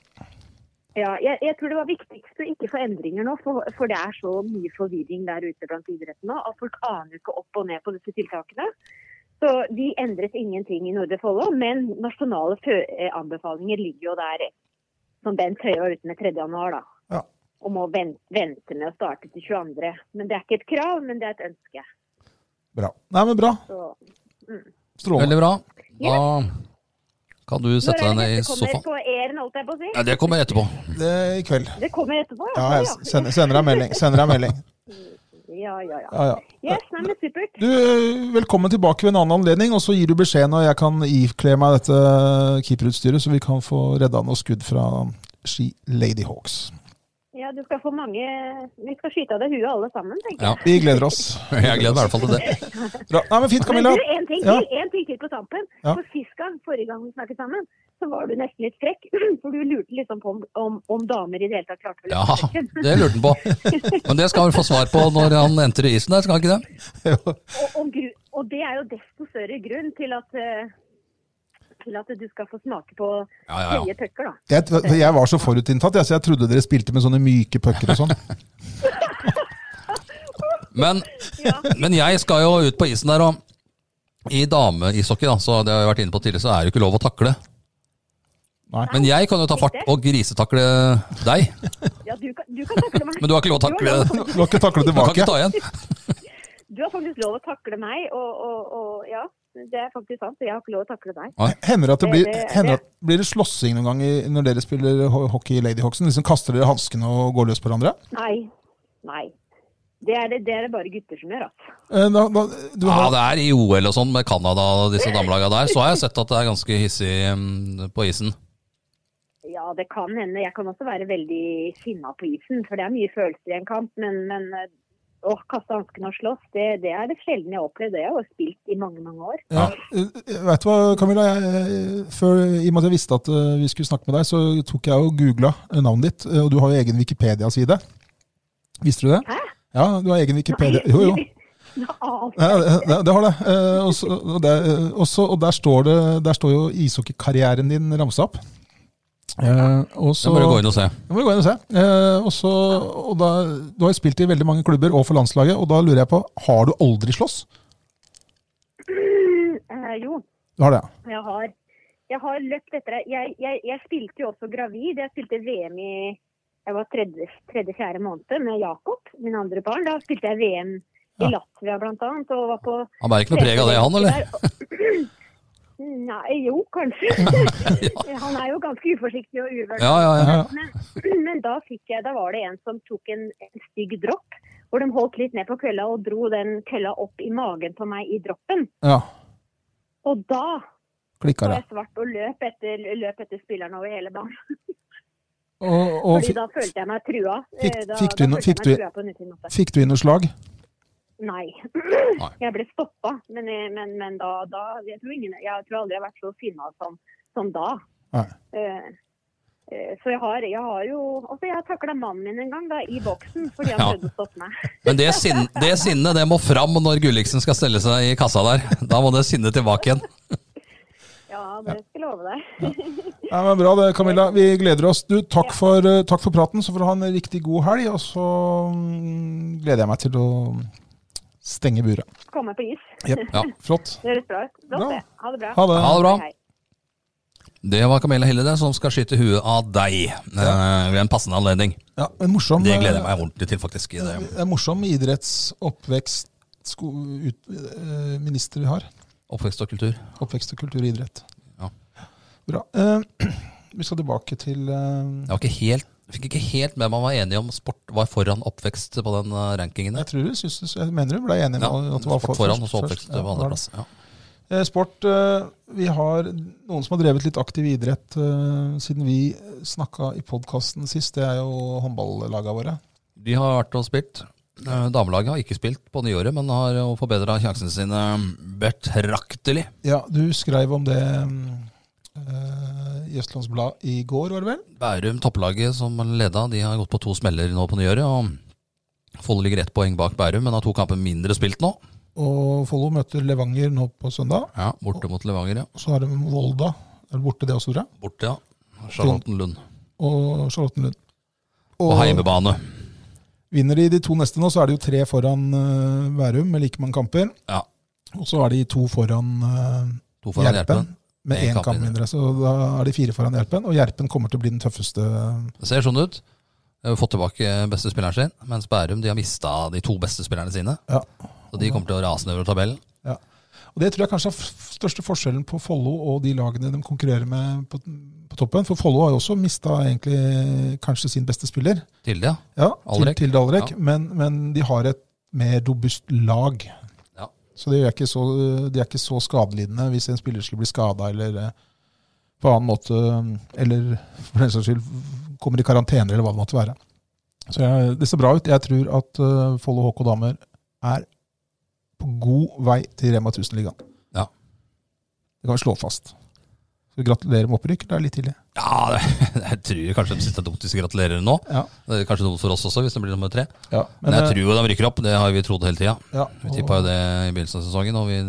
C: Ja, jeg, jeg tror det var viktigst å ikke få endringer nå, for, for det er så mye forvirring der ute blant idretten nå at folk aner ikke opp og ned på disse tiltakene. Så de endret ingenting i Nordre Follo, men nasjonale fø- eh, anbefalinger ligger jo der eh, som Bent Høie var ute med 3. januar, da.
B: Ja.
C: Om å vente, vente med å starte til 22. Men det er ikke et krav, men det er et ønske.
B: Bra. Nei, men bra.
C: Så
B: Strålende.
A: Veldig bra. Da kan du sette deg ned i
C: dette kommer
A: sofaen.
C: på æren, holdt jeg på å si.
A: Ja, det kommer etterpå.
B: Det, I kveld.
C: Det kommer etterpå,
B: Ja, jeg
C: ja.
B: sender, sender deg melding. Sender deg melding.
C: Ja, ja, ja.
B: Ja, ja.
C: Yes, nei, men supert.
B: Du, eh, velkommen tilbake ved en annen anledning, og så gir du beskjed når jeg kan ikle meg dette keeperutstyret, så vi kan få redda noe skudd fra Ski Lady Hawks.
C: Ja, du skal få mange Vi skal skyte av deg huet alle sammen, tenker jeg.
A: Ja,
B: Vi gleder oss.
A: jeg gleder meg i hvert fall til det.
B: Bra. Nei, men fint, Camilla.
C: Men du, en ting,
B: Ja.
C: til, en ting til på tampen.
B: Ja.
C: For Sist gang, forrige gang vi snakket sammen, så var du nesten litt frekk. For du lurte liksom på om, om, om damer i det hele tatt klarte å
A: Ja,
C: løfte sekken.
A: det lurte han på. Men det skal han få svar på når han entrer isen der, skal han ikke det?
C: Og, om gru, og det er jo desto større grunn til at, eh, til at du skal få smake på
A: Ja, ja, ja.
C: høye tøkker, da.
B: Jeg, jeg var så forutinntatt, jeg, så jeg trodde dere spilte med sånne myke pucker og sånn.
A: Men, men jeg skal jo ut på isen der, og i dameishockey, da, så det har jeg vært inne på tidligere, så er det jo ikke lov å takle.
B: Nei.
A: Men jeg kan jo ta fart og grisetakle deg.
C: Ja, du kan, du kan takle meg.
A: Men du har ikke lov å takle
C: Du har
A: Du
C: lov,
B: Du har ikke taklet
A: kan
B: tilbake.
A: ikke ta igjen.
C: du har faktisk lov å takle meg, og, og, og ja. Det er faktisk sant. Jeg har ikke lov å takle deg.
B: Hender det at det
C: Det-
B: blir,
C: det-
B: hender at, blir det slåssing noen gang i- når dere spiller ho- hockey i Lady Hawksen? Liksom kaster dere hanskene og går løs på hverandre?
C: Nei. Nei. Det er det, det, er det bare gutter som gjør, altså.
B: Eh, Da, da, du
A: Ja,
B: har,
A: det er i OL og sånn med Canada og disse damelaga der, så har jeg sett at det er ganske hissig mm, på isen.
C: Ja, det kan hende. Jeg kan også være veldig sinna på isen, for det er mye følelser i en kamp. Men, men eh, å kaste hanskene og slåss, det, det er det sjelden jeg har opplevd. Det har jeg jo spilt i mange, mange år.
B: ja. eh, Vet du hva, Camilla? Jeg, eh, før, I og med at jeg visste at eh, vi skulle snakke med deg, så tok jeg og googla navnet ditt. eh, Og du har jo egen Wikipedia-side. Visste du det?
C: Hæ?
B: Ja, du har egen Wikipedia. Jo, jo.
C: Nei,
B: Ja, det, det- det har det. Eh, og så- og det eh, og så- og der står, det, der står jo ishockeykarrieren din ramsa opp. Eh, og
A: Så
B: så
A: må du gå inn og se.
B: Det må du gå inn og se. Eh, og så, og da, du har jo spilt i veldig mange klubber og for landslaget, og da lurer jeg på, har du aldri slåss?
C: eh, jo,
B: Du har det, ja.
C: jeg har, Jeg har løpt etter deg. Jeg, jeg, jeg spilte jo også gravid. Jeg spilte VM i jeg var tredje-fjerde måned med Jakob, min andre barn. Da spilte jeg VM
A: Ja.
C: i Latvia bl.a. og var på
A: Han bærer ikke noe preg av det, han, eller?
C: Nei, jo, kanskje. Han er jo ganske uforsiktig og uvørt.
A: Ja, ja, ja.
B: Ja,
C: Men, men da, fikk jeg, da var det en som tok en, en stygg dropp, hvor de holdt litt ned på kølla og dro den kølla opp i magen på meg i droppen.
B: ja.
C: Og da
B: Klikka
C: var
B: det.
C: jeg svart og løp etter, løp etter spilleren over hele banen.
B: Og, og
C: Fordi
B: fikk,
C: da følte jeg meg trua.
B: fikk-
C: Eh, da,
B: fikk du
C: da
B: no-
C: følte
B: fikk
C: jeg
B: du-
C: meg trua på en utin måte.
B: fikk du inn noe slag?
C: Nei.
A: Nei.
C: Jeg ble stoppa, men, eh, men, men da, da jeg, tror ingen, jeg tror aldri jeg har vært så sinna som, som da.
B: Nei.
C: Eh, eh, Så jeg har, jeg har jo Altså, jeg har takla mannen min en gang, da, i boksen, fordi han
A: Ja.
C: prøvde å stoppe meg.
A: Men det, sinn, det sinnet det må fram når Gulliksen skal stelle seg i kassa der. Da må det sinnet tilbake igjen.
C: Ja, det skal jeg love deg.
B: Ja, men bra det, Camilla. Vi gleder oss. Du, takk, for, eh, takk for praten. Så får du ha en riktig god helg. Og så mm, gleder jeg meg til å stenge buret.
C: Komme på is.
B: Jep.
A: Ja.
B: Flott.
C: Det høres bra ut. Flott,
B: Bra.
C: det. Ha det bra.
B: Ha det.
A: Ha det bra.
C: Hei.
A: Det var Camilla Hille der som skal skyte huet av deg eh, ved en passende anledning.
B: Ja, en morsom,
A: Det gleder jeg meg ordentlig til, faktisk. i det
B: Det er morsom idrettsoppvekst sko, ut, eh, minister vi har.
A: Oppvekst og kultur.
B: Oppvekst og kultur og idrett.
A: Ja.
B: Bra. Eh, vi skal tilbake til eh,
A: Jeg var ikke helt, fikk ikke helt med meg om man var enig om sport var foran oppvekst på den eh, rankingen.
B: Jeg
A: der.
B: tror du synes, jeg mener du ble enig med
A: Ja,
B: at det var for-
A: sport foran, og så oppvekst
B: først- ja,
A: på
B: det var det.
A: andreplass. Ja.
B: Eh, Sport eh, Vi har noen som har drevet litt aktiv idrett eh, siden vi snakka i podkasten sist. Det er jo håndballagene våre.
A: De har vært og spilt. Eh, Damelaget har ikke spilt på nyåret, men har jo forbedra sjansene sine betraktelig.
B: Ja, du skrev om det eh, i Østlands Blad i går, var det vel?
A: Bærum, topplaget som leda, de har gått på to smeller nå på nyåret. og Follo ligger ett poeng bak Bærum, men har to kamper mindre spilt nå.
B: Og Follo møter Levanger nå på søndag.
A: Ja, Borte mot Levanger, ja.
B: Og så har de Volda. Er det borte, det også, tror jeg.
A: Borte, ja. Charlottenlund.
B: Og Charlottenlund.
A: På heimebane.
B: vinner de de to neste nå, så er det jo tre foran eh, Værum med like mange kamper.
A: Ja,
B: Og så er de to foran eh,
A: to foran
B: Gjerpen
A: Gjerpen.
B: med én kamp mindre. Så da er de fire foran Gjerpen, og Gjerpen kommer til å bli den tøffeste.
A: Det ser sånn ut. De har Fått tilbake beste spilleren sin, mens Bærum de har mista de to beste spillerne sine.
B: Ja.
A: Så de kommer til å rase nedover tabellen.
B: Og Det tror jeg kanskje er f- største forskjellen på Follo og de lagene de konkurrerer med på, på toppen. For Follo har jo også mista egentlig kanskje sin beste spiller,
A: Tilde, ja.
B: ja, til
A: Alrek.
B: til Dalrek,
A: Ja.
B: men, men de har et mer robust lag.
A: Ja.
B: Så de er ikke så, de er ikke så skadelidende hvis en spiller skulle bli skada eller eh, på annen måte Eller for den saks skyld kommer i karantene eller hva det måtte være. Så jeg, det ser bra ut. Jeg tror at eh, Follo HK Damer er på god vei til Rema 1000-ligaen.
A: Ja.
B: Det kan vi slå fast. Så gratulerer med opprykk. Det er litt tidlig.
A: Ja, det, jeg tror kanskje de siste dumt hvis de gratulerer nå.
B: Ja.
A: Det er kanskje dumt for oss også, hvis det blir nummer tre. Men
B: Men,
A: jeg
B: eh,
A: tror jo de rykker opp, det har vi trodd hele tida.
B: ja,
A: Vi
B: og-
A: tippa jo det i begynnelsen av sesongen, og vi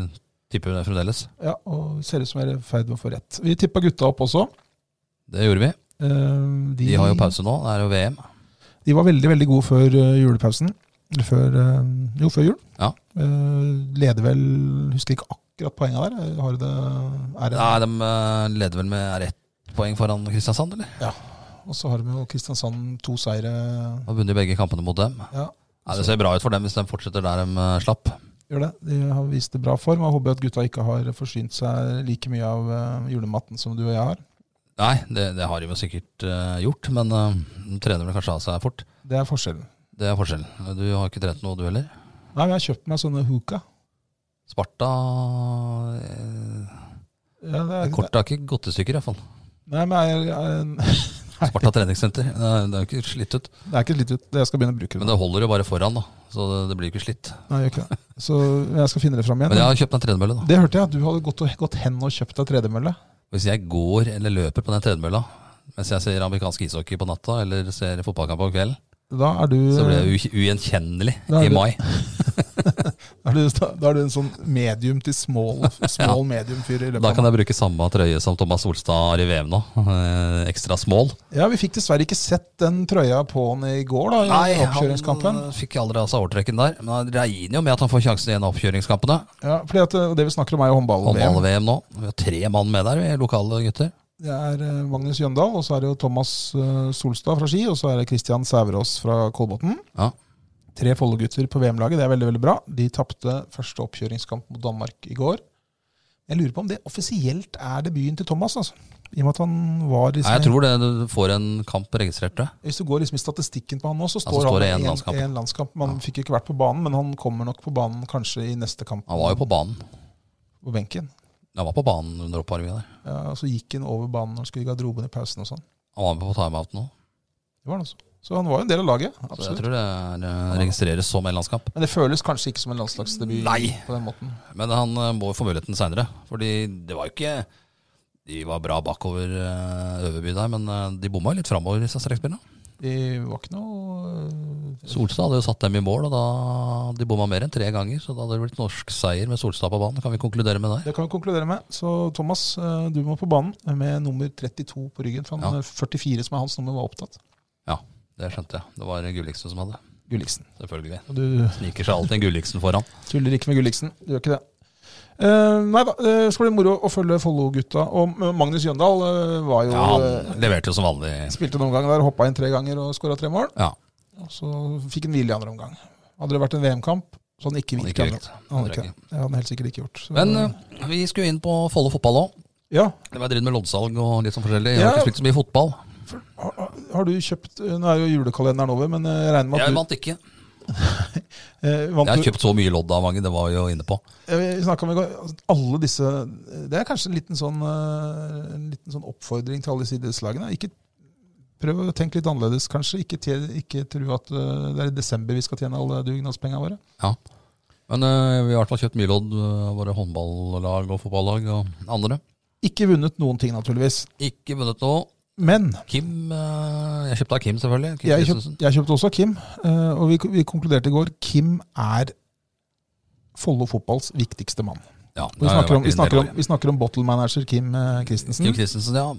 A: tipper jo det fremdeles.
B: Ja, og ser ut som vi er i ferd med å få rett. Vi tippa gutta opp også.
A: Det gjorde vi.
B: Eh, De,
A: De har jo pause nå, det er jo VM.
B: De var veldig, veldig gode før eh, julepausen. Eller før eh, Jo, før jul.
A: Ja.
B: Eh, leder vel Husker ikke akkurat poenga der. Eh, Har du det er det-
A: Nei, de eh, leder vel med er ett poeng foran Kristiansand, eller?
B: Og så har de jo Kristiansand to seire.
A: Har vunnet begge kampene mot dem.
B: Ja,
A: Nei, det ser bra ut for dem hvis de fortsetter der de eh, slapp.
B: gjør det. De har vist det bra form. Jeg håper at gutta ikke har forsynt seg like mye av eh, julematten som du og jeg har.
A: Nei, det, det har de jo sikkert eh, gjort, men eh, de trener vel kanskje av seg fort.
B: Det er forskjellen.
A: Det er forskjellen. Du har ikke trent noe, du heller?
B: Nei, men jeg har kjøpt meg sånne hookah.
A: Sparta eh,
B: Ja, det er,
A: Kortet har ikke gått i stykker, iallfall.
B: Nei, men jeg, jeg,
A: Sparta treningssenter. Det er- det er jo ikke slitt ut.
B: det er ikke slitt ut. Jeg skal begynne å bruke det.
A: Men det holder jo bare foran, da. Så det, det blir ikke slitt.
B: Nei, jeg gjør ikke det. Så jeg skal finne det fram igjen.
A: Men jeg har kjøpt meg tredemølle, da.
B: Det hørte jeg at du hadde gått, og- gått hen og kjøpt deg tredemølle.
A: Hvis jeg går eller løper på den tredemølla mens jeg ser amerikansk ishockey på natta eller ser fotballkamp om kvelden,
B: Da er du
A: så blir jeg u- ugjenkjennelig
B: Da er
A: i
B: du-
A: mai.
B: Da er du, da er du en sånn medium til small, small medium-fyr. i løpet
A: Da
B: av
A: kan jeg bruke samme trøye som Thomas Solstad har i VM nå. Eh, Ekstra small.
B: Ja, Vi fikk dessverre ikke sett den trøya på han i går da, i oppkjøringskampen.
A: han fikk aldri av seg overtrekken der. Men han regner jo med at han får sjansen i en av oppkjøringskampene.
B: Ja, fordi at eh, Det vi snakker om, er jo håndball-VM.
A: Håndball-VM nå. Vi har tre mann med der, vi lokale gutter.
B: Det er eh, Magnus Jøndal, og så er det jo Thomas eh, Solstad fra Ski, og så er det Kristian Sæverås fra Kolbotn.
A: Ja.
B: Tre Follo-gutter på VM-laget, det er veldig veldig bra. De tapte første oppkjøringskamp mot Danmark i går. Jeg lurer på om det offisielt er debuten til Thomas, altså. I og med at han var i
A: Nei, jeg tror det du får en kamp registrert, tror jeg.
B: Hvis du går liksom i statistikken på han nå, så står,
A: så Altså, står det
B: han
A: en
B: i
A: landskamp.
B: en landskamp. Man fikk ikke vært på banen, men han kommer nok på banen kanskje i neste kamp.
A: Han var jo på banen.
B: på benken.
A: Han var på banen under oppvarminga der.
B: Ja, og så gikk han over banen når han skulle i garderoben i pausen og sånn.
A: Han var med på timeout nå.
B: Det var han også. Så han var jo en del av laget.
A: Så jeg
B: absolutt.
A: tror det er, eh, registreres som en landskamp.
B: Men det føles kanskje ikke som en landslagsdebut
A: Nei.
B: på den måten.
A: Men han eh, må jo få muligheten seinere. Fordi det var jo ikke De var bra bakover eh, Øverby der, men eh, de bomma jo litt framover i strekspillene.
B: Det var ikke noe øh,
A: Solstad hadde jo satt dem i mål, og da de bomma mer enn tre ganger. Så da hadde det blitt norsk seier med Solstad på banen. Kan vi konkludere med det?
B: Det kan vi konkludere med. Så Thomas, øh, du må på banen med nummer 32 på ryggen. For han
A: Ja.
B: øh, 44 som er hans nummer, var opptatt.
A: Ja, det skjønte jeg. Det var Gulliksen som hadde.
B: Gulliksen.
A: Selvfølgelig.
B: Og du
A: Sniker seg alltid en Gulliksen foran.
B: Tuller ikke med Gulliksen. Du gjør ikke det. Eh, nei da, eh, skal bli moro å følge Follo-gutta. Og eh, Magnus Jøndal eh, var jo
A: Ja,
B: eh,
A: han leverte jo som vanlig.
B: Spilte en omgang der, hoppa inn tre ganger og skåra tre mål.
A: Ja,
B: Og så fikk han hvile i andre omgang. Hadde det vært en VM-kamp, så hadde han ikke
A: han
B: hvilt.
A: gikk
B: i
A: høyt.
B: andre- Han hadde ikke det. Det hadde han helt sikkert ikke gjort. Så-
A: Men eh, vi skulle inn på Follo fotball òg.
B: ja.
A: Det var dritt med loddsalg og litt sånn forskjellig. Jeg
B: Ja.
A: har ikke spilt så mye fotball.
B: Har, har du kjøpt eh, Nå er jo julekalenderen over, men eh, jeg regner med at
A: Jeg
B: du
A: vant ikke.
B: eh, vant
A: Jeg har
B: du-
A: kjøpt så mye lodd av mange, det var vi jo inne på.
B: Eh, Vi snakket om i går, altså, alle disse eh, Det er kanskje en liten sånn, eh, en liten sånn oppfordring til alle disse idrettslagene. Ikke Prøv å tenke litt annerledes, kanskje. Ikke, te, ikke tro at eh, det er i desember vi skal tjene alle dugnadspengene våre.
A: Ja. Men eh, vi har i hvert fall kjøpt mye lodd, eh, våre håndballag og fotballag og andre.
B: Ikke vunnet noen ting, naturligvis.
A: Ikke vunnet noe.
B: Men
A: Kim eh, Jeg kjøpte av Kim, selvfølgelig. Kim
B: jeg, kjøpt,
A: Kristensen.
B: jeg kjøpte også Kim, eh, og vi, vi konkluderte i går. Kim er Follo fotballs viktigste mann.
A: Ja,
B: Og Vi
A: det har vært
B: snakker om, vi
A: en del
B: snakker om,
A: år.
B: vi snakker om bottle manager Kim eh, Christensen.
A: Kim Christensen, ja.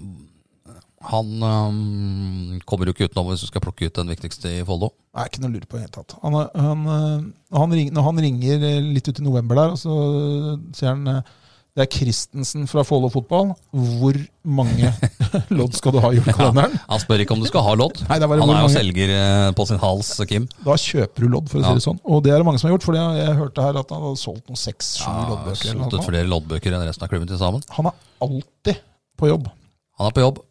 A: Han eh, kommer jo ikke utenom hvis du skal plukke ut den viktigste i Follo.
B: Det er ikke noe lur på i det hele tatt. Han, er- han, øh, han ring, når han ringer eh, litt ut i november der, og så øh, sier han eh, det er Christensen fra Follo fotball. Hvor mange lodd skal du ha i julekalenderen?
A: Han spør ikke om du skal ha lodd.
B: Nei, det var
A: han
B: hvor
A: er jo
B: mange-
A: selger eh, på sin hals, Kim.
B: Da kjøper du lodd, for å
A: Ja.
B: si det sånn. Og det er det mange som har gjort, for jeg, jeg hørte her at han hadde solgt noen seks-sju
A: Ja,
B: loddbøker. eller
A: solgt
B: noe
A: ut
B: sånt.
A: flere loddbøker enn resten av klubben til sammen.
B: Han er alltid på jobb.
A: Han er på jobb.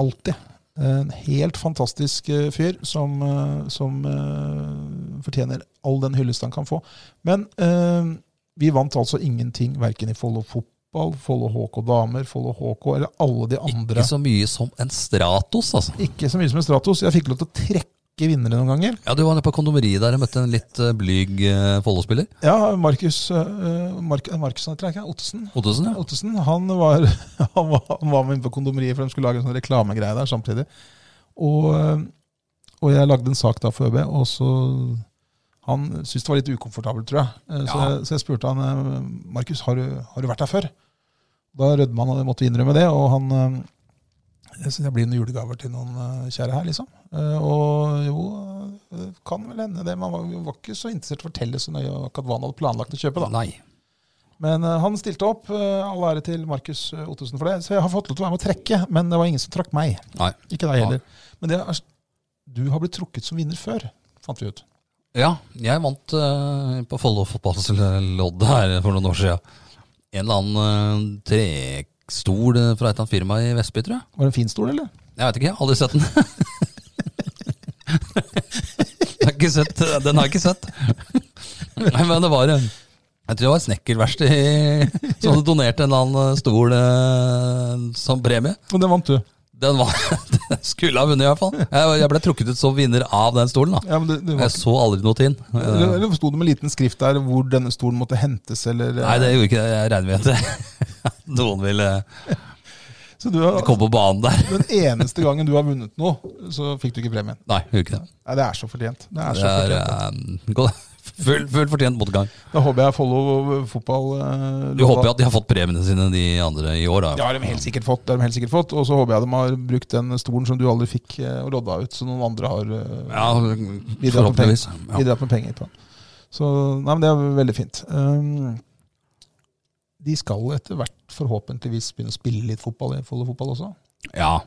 B: Alltid. En helt fantastisk eh, fyr som, eh, som eh, fortjener all den hyllest han kan få. Men eh, vi vant altså ingenting, verken i Follo fotball, Follo HK damer, Follo HK eller alle de andre.
A: Ikke så mye som en Stratos, altså.
B: Ikke så mye som i Stratos. Jeg fikk lov til å trekke vinnere noen ganger.
A: Ja, Du var nede på kondomeriet der og møtte en litt eh, blyg eh, Follo-spiller.
B: Ja, Markus eh, Mark, Markussen heter han ikke? Ottesen?
A: Ottesen, ja.
B: Ottesen, han var, han var, han var med inn på kondomeriet, for de skulle lage en sånn reklamegreie der samtidig. Og, eh, og jeg lagde en sak da for ØB, og så Han syntes det var litt ukomfortabelt, tror jeg. Eh, Så,
A: Ja.
B: jeg, så jeg spurte han eh, Markus, har, du- har du vært her før? Da rødma han, og jeg måtte innrømme det. Og han eh, jeg synes jeg blir noen julegaver til noen eh, kjære her, liksom. Eh, Og jo, eh, kan vel hende det. Man var, var ikke så interessert i å fortelle så nøye akkurat hva han hadde planlagt å kjøpe, da.
A: Nei.
B: Men eh, han stilte opp. eh, All ære til Markus eh, Ottesen for det. Så jeg har fått lov til å være med å trekke, men det var ingen som trakk meg.
A: Nei.
B: Ikke deg heller. Men det er, du har blitt trukket som vinner før, fant vi ut.
A: Ja, jeg vant eh, på Follo fotballsloddet her for noen år siden. En eller annen eh, trestol eh, fra et eller annet firma i Vestby, tror jeg.
B: Var det en fin stol, eller?
A: Jeg vet ikke, jeg har aldri sett den. jeg har ikke sett, eh, den har jeg ikke sett. Nei, men det var en jeg tror det var et snekkerverksted i- som hadde donert en eller annen stol eh, som premie.
B: Og den vant du.
A: Den var, den skulle ha vunnet i hvert fall. Jeg, jeg ble trukket ut som vinner av den stolen. da.
B: Ja, men det, det var
A: Jeg så aldri noe til den. Eh,
B: eller, eller sto det med liten skrift der hvor denne stolen måtte hentes, eller eh,
A: Nei, det gjorde ikke det. Jeg regner med at det- noen ville
B: Så du har,
A: komme på banen der.
B: den eneste gangen du har vunnet noe, så fikk du ikke premien.
A: Nei, gjorde ikke det.
B: Nei, det er så fortjent. Det er
A: Det
B: så
A: er
B: fortjent.
A: eh, gå- Full, full fortjent motgang.
B: Da håper jeg Follo fotball eh,
A: Du håper jo at de har fått premiene sine, de andre, i år. da.
B: Det har de helt sikkert fått. det har de helt sikkert fått Og så håper jeg de har brukt den stolen som du aldri fikk, eh, og lodda ut, så noen andre har eh,
A: Ja,
B: bidratt, med
A: forhåpentligvis.
B: penger,
A: Ja.
B: bidratt med penger på den. Så nei, men det er veldig fint. Um, de skal etter hvert forhåpentligvis begynne å spille litt fotball i Follo fotball også.
A: ja.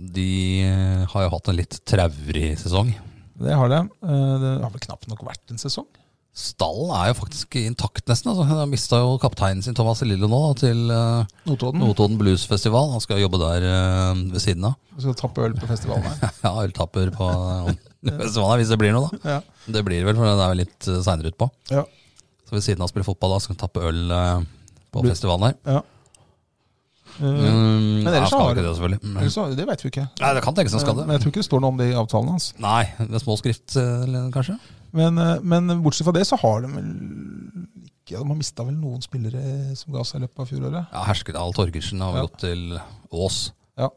A: De eh, har jo hatt en litt traurig sesong.
B: Det har de. Eh, Det har vel knapt nok vært en sesong.
A: Stallen er jo faktisk intakt, nesten. altså. De har mista jo kapteinen sin, Thomas Lillo, nå da, til eh,
B: Notodden.
A: Notodden Bluesfestival. Han skal jobbe der eh, ved siden av.
B: Vi skal tappe øl på festivalen her.
A: Ja, øltapper på Vestlandet, hvis det blir noe, da.
B: Ja.
A: Det blir det vel, for det er vel litt eh, seinere utpå.
B: Ja.
A: Så ved siden av å spille fotball, da, skal han tappe øl eh, på
B: Blir-
A: festivalen her.
B: ja. Eh,
A: Mm,
B: Men ellers
A: ja,
B: så
A: skal
B: har
A: ikke
B: du-
A: det, Mm. selvfølgelig.
B: eller
A: Men,
B: så- det veit vi ikke.
A: nei, det kan tenkes han skal
B: Men
A: det.
B: jeg tror ikke det står noe om det i avtalen hans.
A: Nei, med små skrift, eh, eller kanskje.
B: Men, eh, men bortsett fra det så har de vel ikke De har mista vel noen spillere som ga seg i løpet av fjoråret.
A: Ja, Herskedal Torgersen har vel
B: Ja.
A: gått til Ås.
B: Ja,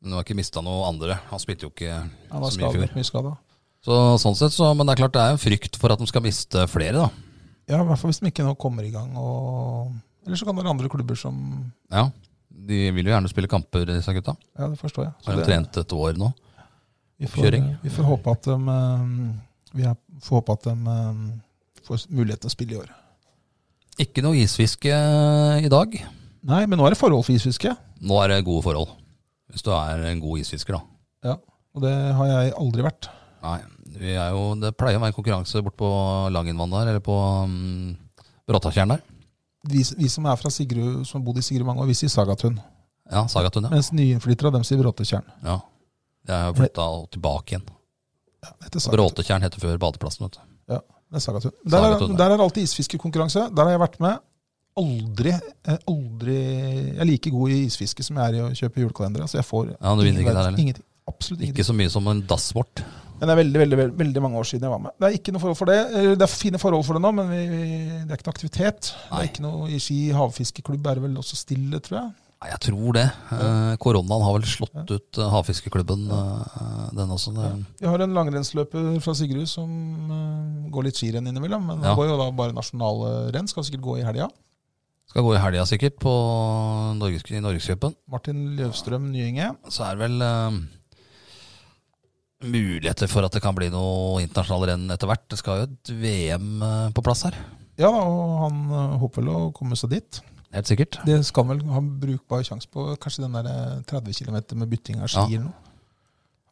A: Men du har ikke mista noe andre. Han spilte jo ikke
B: han var
A: så mye i
B: skadet,
A: fjor.
B: mye skada.
A: Så, sånn sett, så, men det er klart det er en frykt for at de skal miste flere, da.
B: Ja, i hvert fall hvis de ikke nå kommer i gang. Og, eller så kan det være andre klubber som
A: Ja, De vil jo gjerne spille kamper, disse gutta.
B: Ja, det forstår jeg. Så
A: Har de
B: det-
A: trent et år nå?
B: vi, får,
A: oppkjøring?
B: vi får håpe at de, eh, vi er, får, håpe at de eh, får mulighet til å spille i år.
A: Ikke noe isfiske eh, i dag.
B: Nei, men nå er det forholdsvis fiske.
A: Nå er det gode forhold. Hvis du er en god isfisker, da.
B: Ja, og det har jeg aldri vært.
A: Nei, vi er jo, det pleier å være en konkurranse bort på Langenvann der, eller på um, Bråtatjern der.
B: Vi, vi som er fra Sigrud, som har bodd i Sigrud mange år, vi sier Sagatun.
A: Ja, Sagatun, ja.
B: Mens nyinnflyttere, dem sier Bråtetjern.
A: ja. Jeg har flytta tilbake igjen.
B: Ja, det heter Sagatun.
A: Bråtetjern heter før badeplassen, vet du.
B: Det er Sagatun. Der, er-
A: Sagatun, ja.
B: der er det alltid isfiskekonkurranse. Der har jeg vært med. Aldri, eh, aldri Jeg er like god i isfiske som jeg er i å kjøpe julekalendere. Så jeg får
A: Ja, du vinner ikke
B: ingen
A: der
B: verdens-
A: heller.
B: ingenting. Absolutt ingenting.
A: Ikke så mye som en dassvort.
B: Men det er veldig, veldig, veldig, veldig mange år siden jeg var med. Det er ikke noe forhold for det. Eller, Det er fine forhold for det nå, men vi, vi, det er ikke noe aktivitet. Det
A: Nei.
B: er ikke noe I Ski havfiskeklubb er det vel også stille, tror jeg.
A: Nei, jeg tror det. Eh, koronaen har vel slått ut eh, havfiskeklubben, eh, den også. Det,
B: Vi har en langrennsløper fra Sigrud som eh, går litt skirenn innimellom. Men
A: Ja.
B: han går jo da bare nasjonale renn. Skal sikkert gå i helga.
A: skal gå i helga sikkert, på Norges, i Norgescupen.
B: Martin Løvstrøm Nyenge.
A: Så er det vel eh, muligheter for at det kan bli noe internasjonale renn etter hvert. Det skal jo et VM eh, på plass her.
B: Ja, da, og han eh, håper vel å komme seg dit.
A: Helt sikkert.
B: Det skal vel ha en brukbar sjanse på kanskje den der eh, 30 km med bytting av ski
A: Ja.
B: eller noe.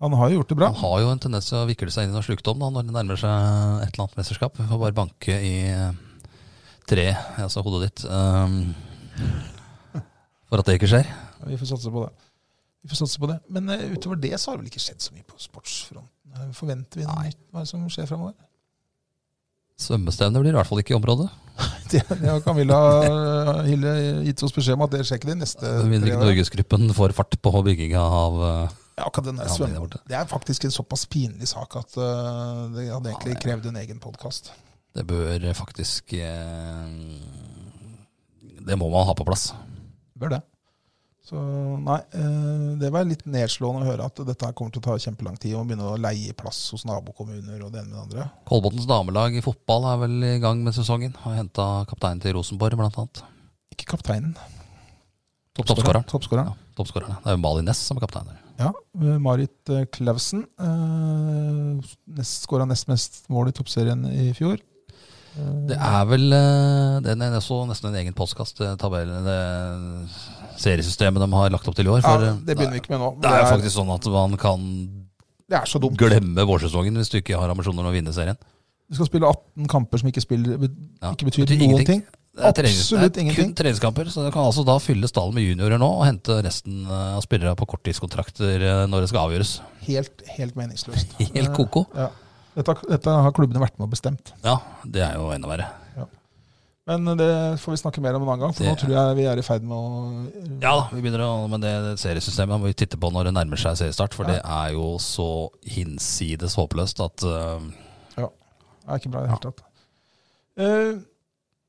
B: Han har jo gjort det bra.
A: Han har jo en tendens til å vikle seg inn i noe slukdom da, når det nærmer seg et eller annet mesterskap. Vi får bare banke i eh, tre, altså hodet ditt, ehm, for at det ikke skjer.
B: Vi får satse på det. Vi får satse på det. Men eh, utover det så har det vel ikke skjedd så mye på sportsfronten. Eh, Forventer vi noe nytt? Hva er det som skjer framover?
A: Svømmestevne blir i hvert fall ikke i området.
B: Det det har Camilla eh, Hille gitt oss beskjed om at det skjer ikke de neste
A: Med mindre
B: tre
A: ikke
B: årene.
A: Norgesgruppen får fart på bygginga av eh,
B: Ja, akkurat den der
A: Ja,
B: svømme-
A: det er borte.
B: Det er faktisk en såpass pinlig sak at eh, det hadde egentlig krevd en egen podkast.
A: Det bør faktisk eh, Det må man ha på plass.
B: Bør det. Så nei, eh, det var litt nedslående å høre at dette her kommer til å ta kjempelang tid. Og begynne å leie plass hos nabokommuner og det ene med det andre.
A: Kolbotns damelag i fotball er vel i gang med sesongen. Har henta kapteinen til Rosenborg, blant annet.
B: Ikke kapteinen.
A: Toppskåreren.
B: Toppskåreren.
A: Ja, toppskåreren. Det er jo Mali Næss som er kaptein der.
B: Ja, eh, Marit eh, Clausen eh, skåra nest mest mål i toppserien i fjor. Eh,
A: Det er vel eh, den er også nesten en egen postkast, eh, tabellen, det seriesystemet de har lagt opp til i år.
B: ja,
A: For, eh,
B: det begynner vi ikke med nå.
A: det er jo faktisk sånn at man kan
B: det er så dumt.
A: glemme vårsesongen hvis du ikke har ambisjoner om å vinne serien.
B: Du skal spille 18 kamper som ikke, spiller, be-
A: Ja,
B: ikke betyr
A: betyr
B: noen
A: ingenting.
B: ting.
A: Det er trenings-
B: Absolutt
A: det er Kun
B: ingenting.
A: treningskamper, så du kan altså da fylle stallen med juniorer nå og hente resten eh, av spillere på korttidskontrakter eh, når det skal avgjøres.
B: Helt, helt meningsløst.
A: Helt koko.
B: Eh, ja. Dette, dette har klubbene vært med og bestemt.
A: Ja, det er jo enda verre.
B: Men eh, det får vi snakke mer om en annen gang, for nå
A: Det-
B: tror jeg vi er i ferd med å eh,
A: Ja da, vi begynner å, men det seriesystemet må vi titte på når det nærmer seg seriestart, for det er jo så hinsides håpløst at eh,
B: Det er ikke bra i det hele tatt. Eh,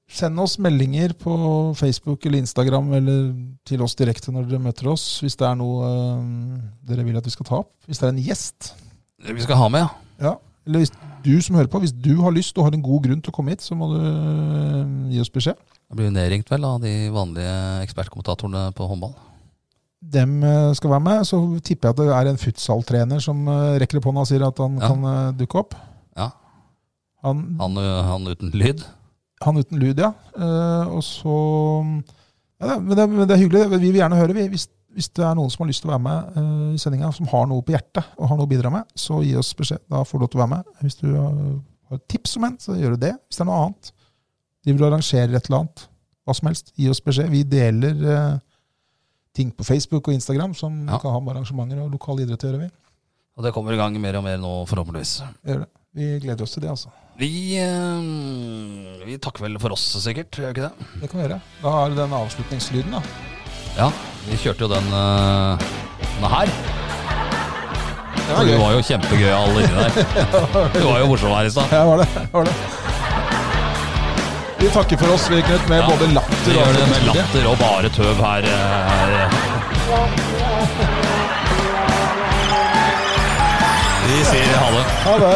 B: send oss meldinger på Facebook eller Instagram eller til oss direkte når dere møter oss, hvis det er noe eh, dere vil at vi skal ta opp. Hvis det er en gjest.
A: vi skal ha med, ja.
B: Ja, Eller hvis du som hører på, hvis du har lyst og har en god grunn til å komme hit, så må du eh, gi oss beskjed.
A: Da blir vi nedringt vel av de vanlige ekspertkommentatorene på håndball.
B: Dem eh, skal være med. Så tipper jeg at det er en futsaltrener som eh, rekker opp hånda og sier at han
A: Ja.
B: kan eh, dukke opp.
A: Ja.
B: Han,
A: Han, ø, han uten lyd.
B: han uten lyd, ja. Eh, og så ja, det er- men, det, er- men det er hyggelig. Vi vil gjerne høre. Vi, hvis, hvis det er noen som har lyst til å være med eh, i sendinga, som har noe på hjertet og har noe å bidra med, så gi oss beskjed. Da får du lov til å være med. Hvis du har har et tips om en, så gjør du det. Hvis det er noe annet, de vil arrangere et eller annet, hva som helst, gi oss beskjed. Vi deler eh, ting på Facebook og Instagram som
A: Ja.
B: kan ha med arrangementer og lokal idrett å gjøre. Vi.
A: Og det kommer i gang mer og mer nå, forhåpentligvis.
B: gjør det. Vi gleder oss til det, altså.
A: Vi, ø, vi takker vel for oss, sikkert. Gjør vi ikke det?
B: Det kan vi gjøre. Da er det den avslutningslyden, da.
A: Ja, vi kjørte jo den, ø, den her.
B: Det
A: For du var jo kjempegøy alle inni der. Du var jo morsom her i stad.
B: Ja, var det. Var det. Vi takker for oss, vi, Knut, med
A: Ja.
B: både latter
A: Vi
B: og
A: gjør det med latter og bare tøv her. ø, her. Vi sier ha det.
B: Ha det.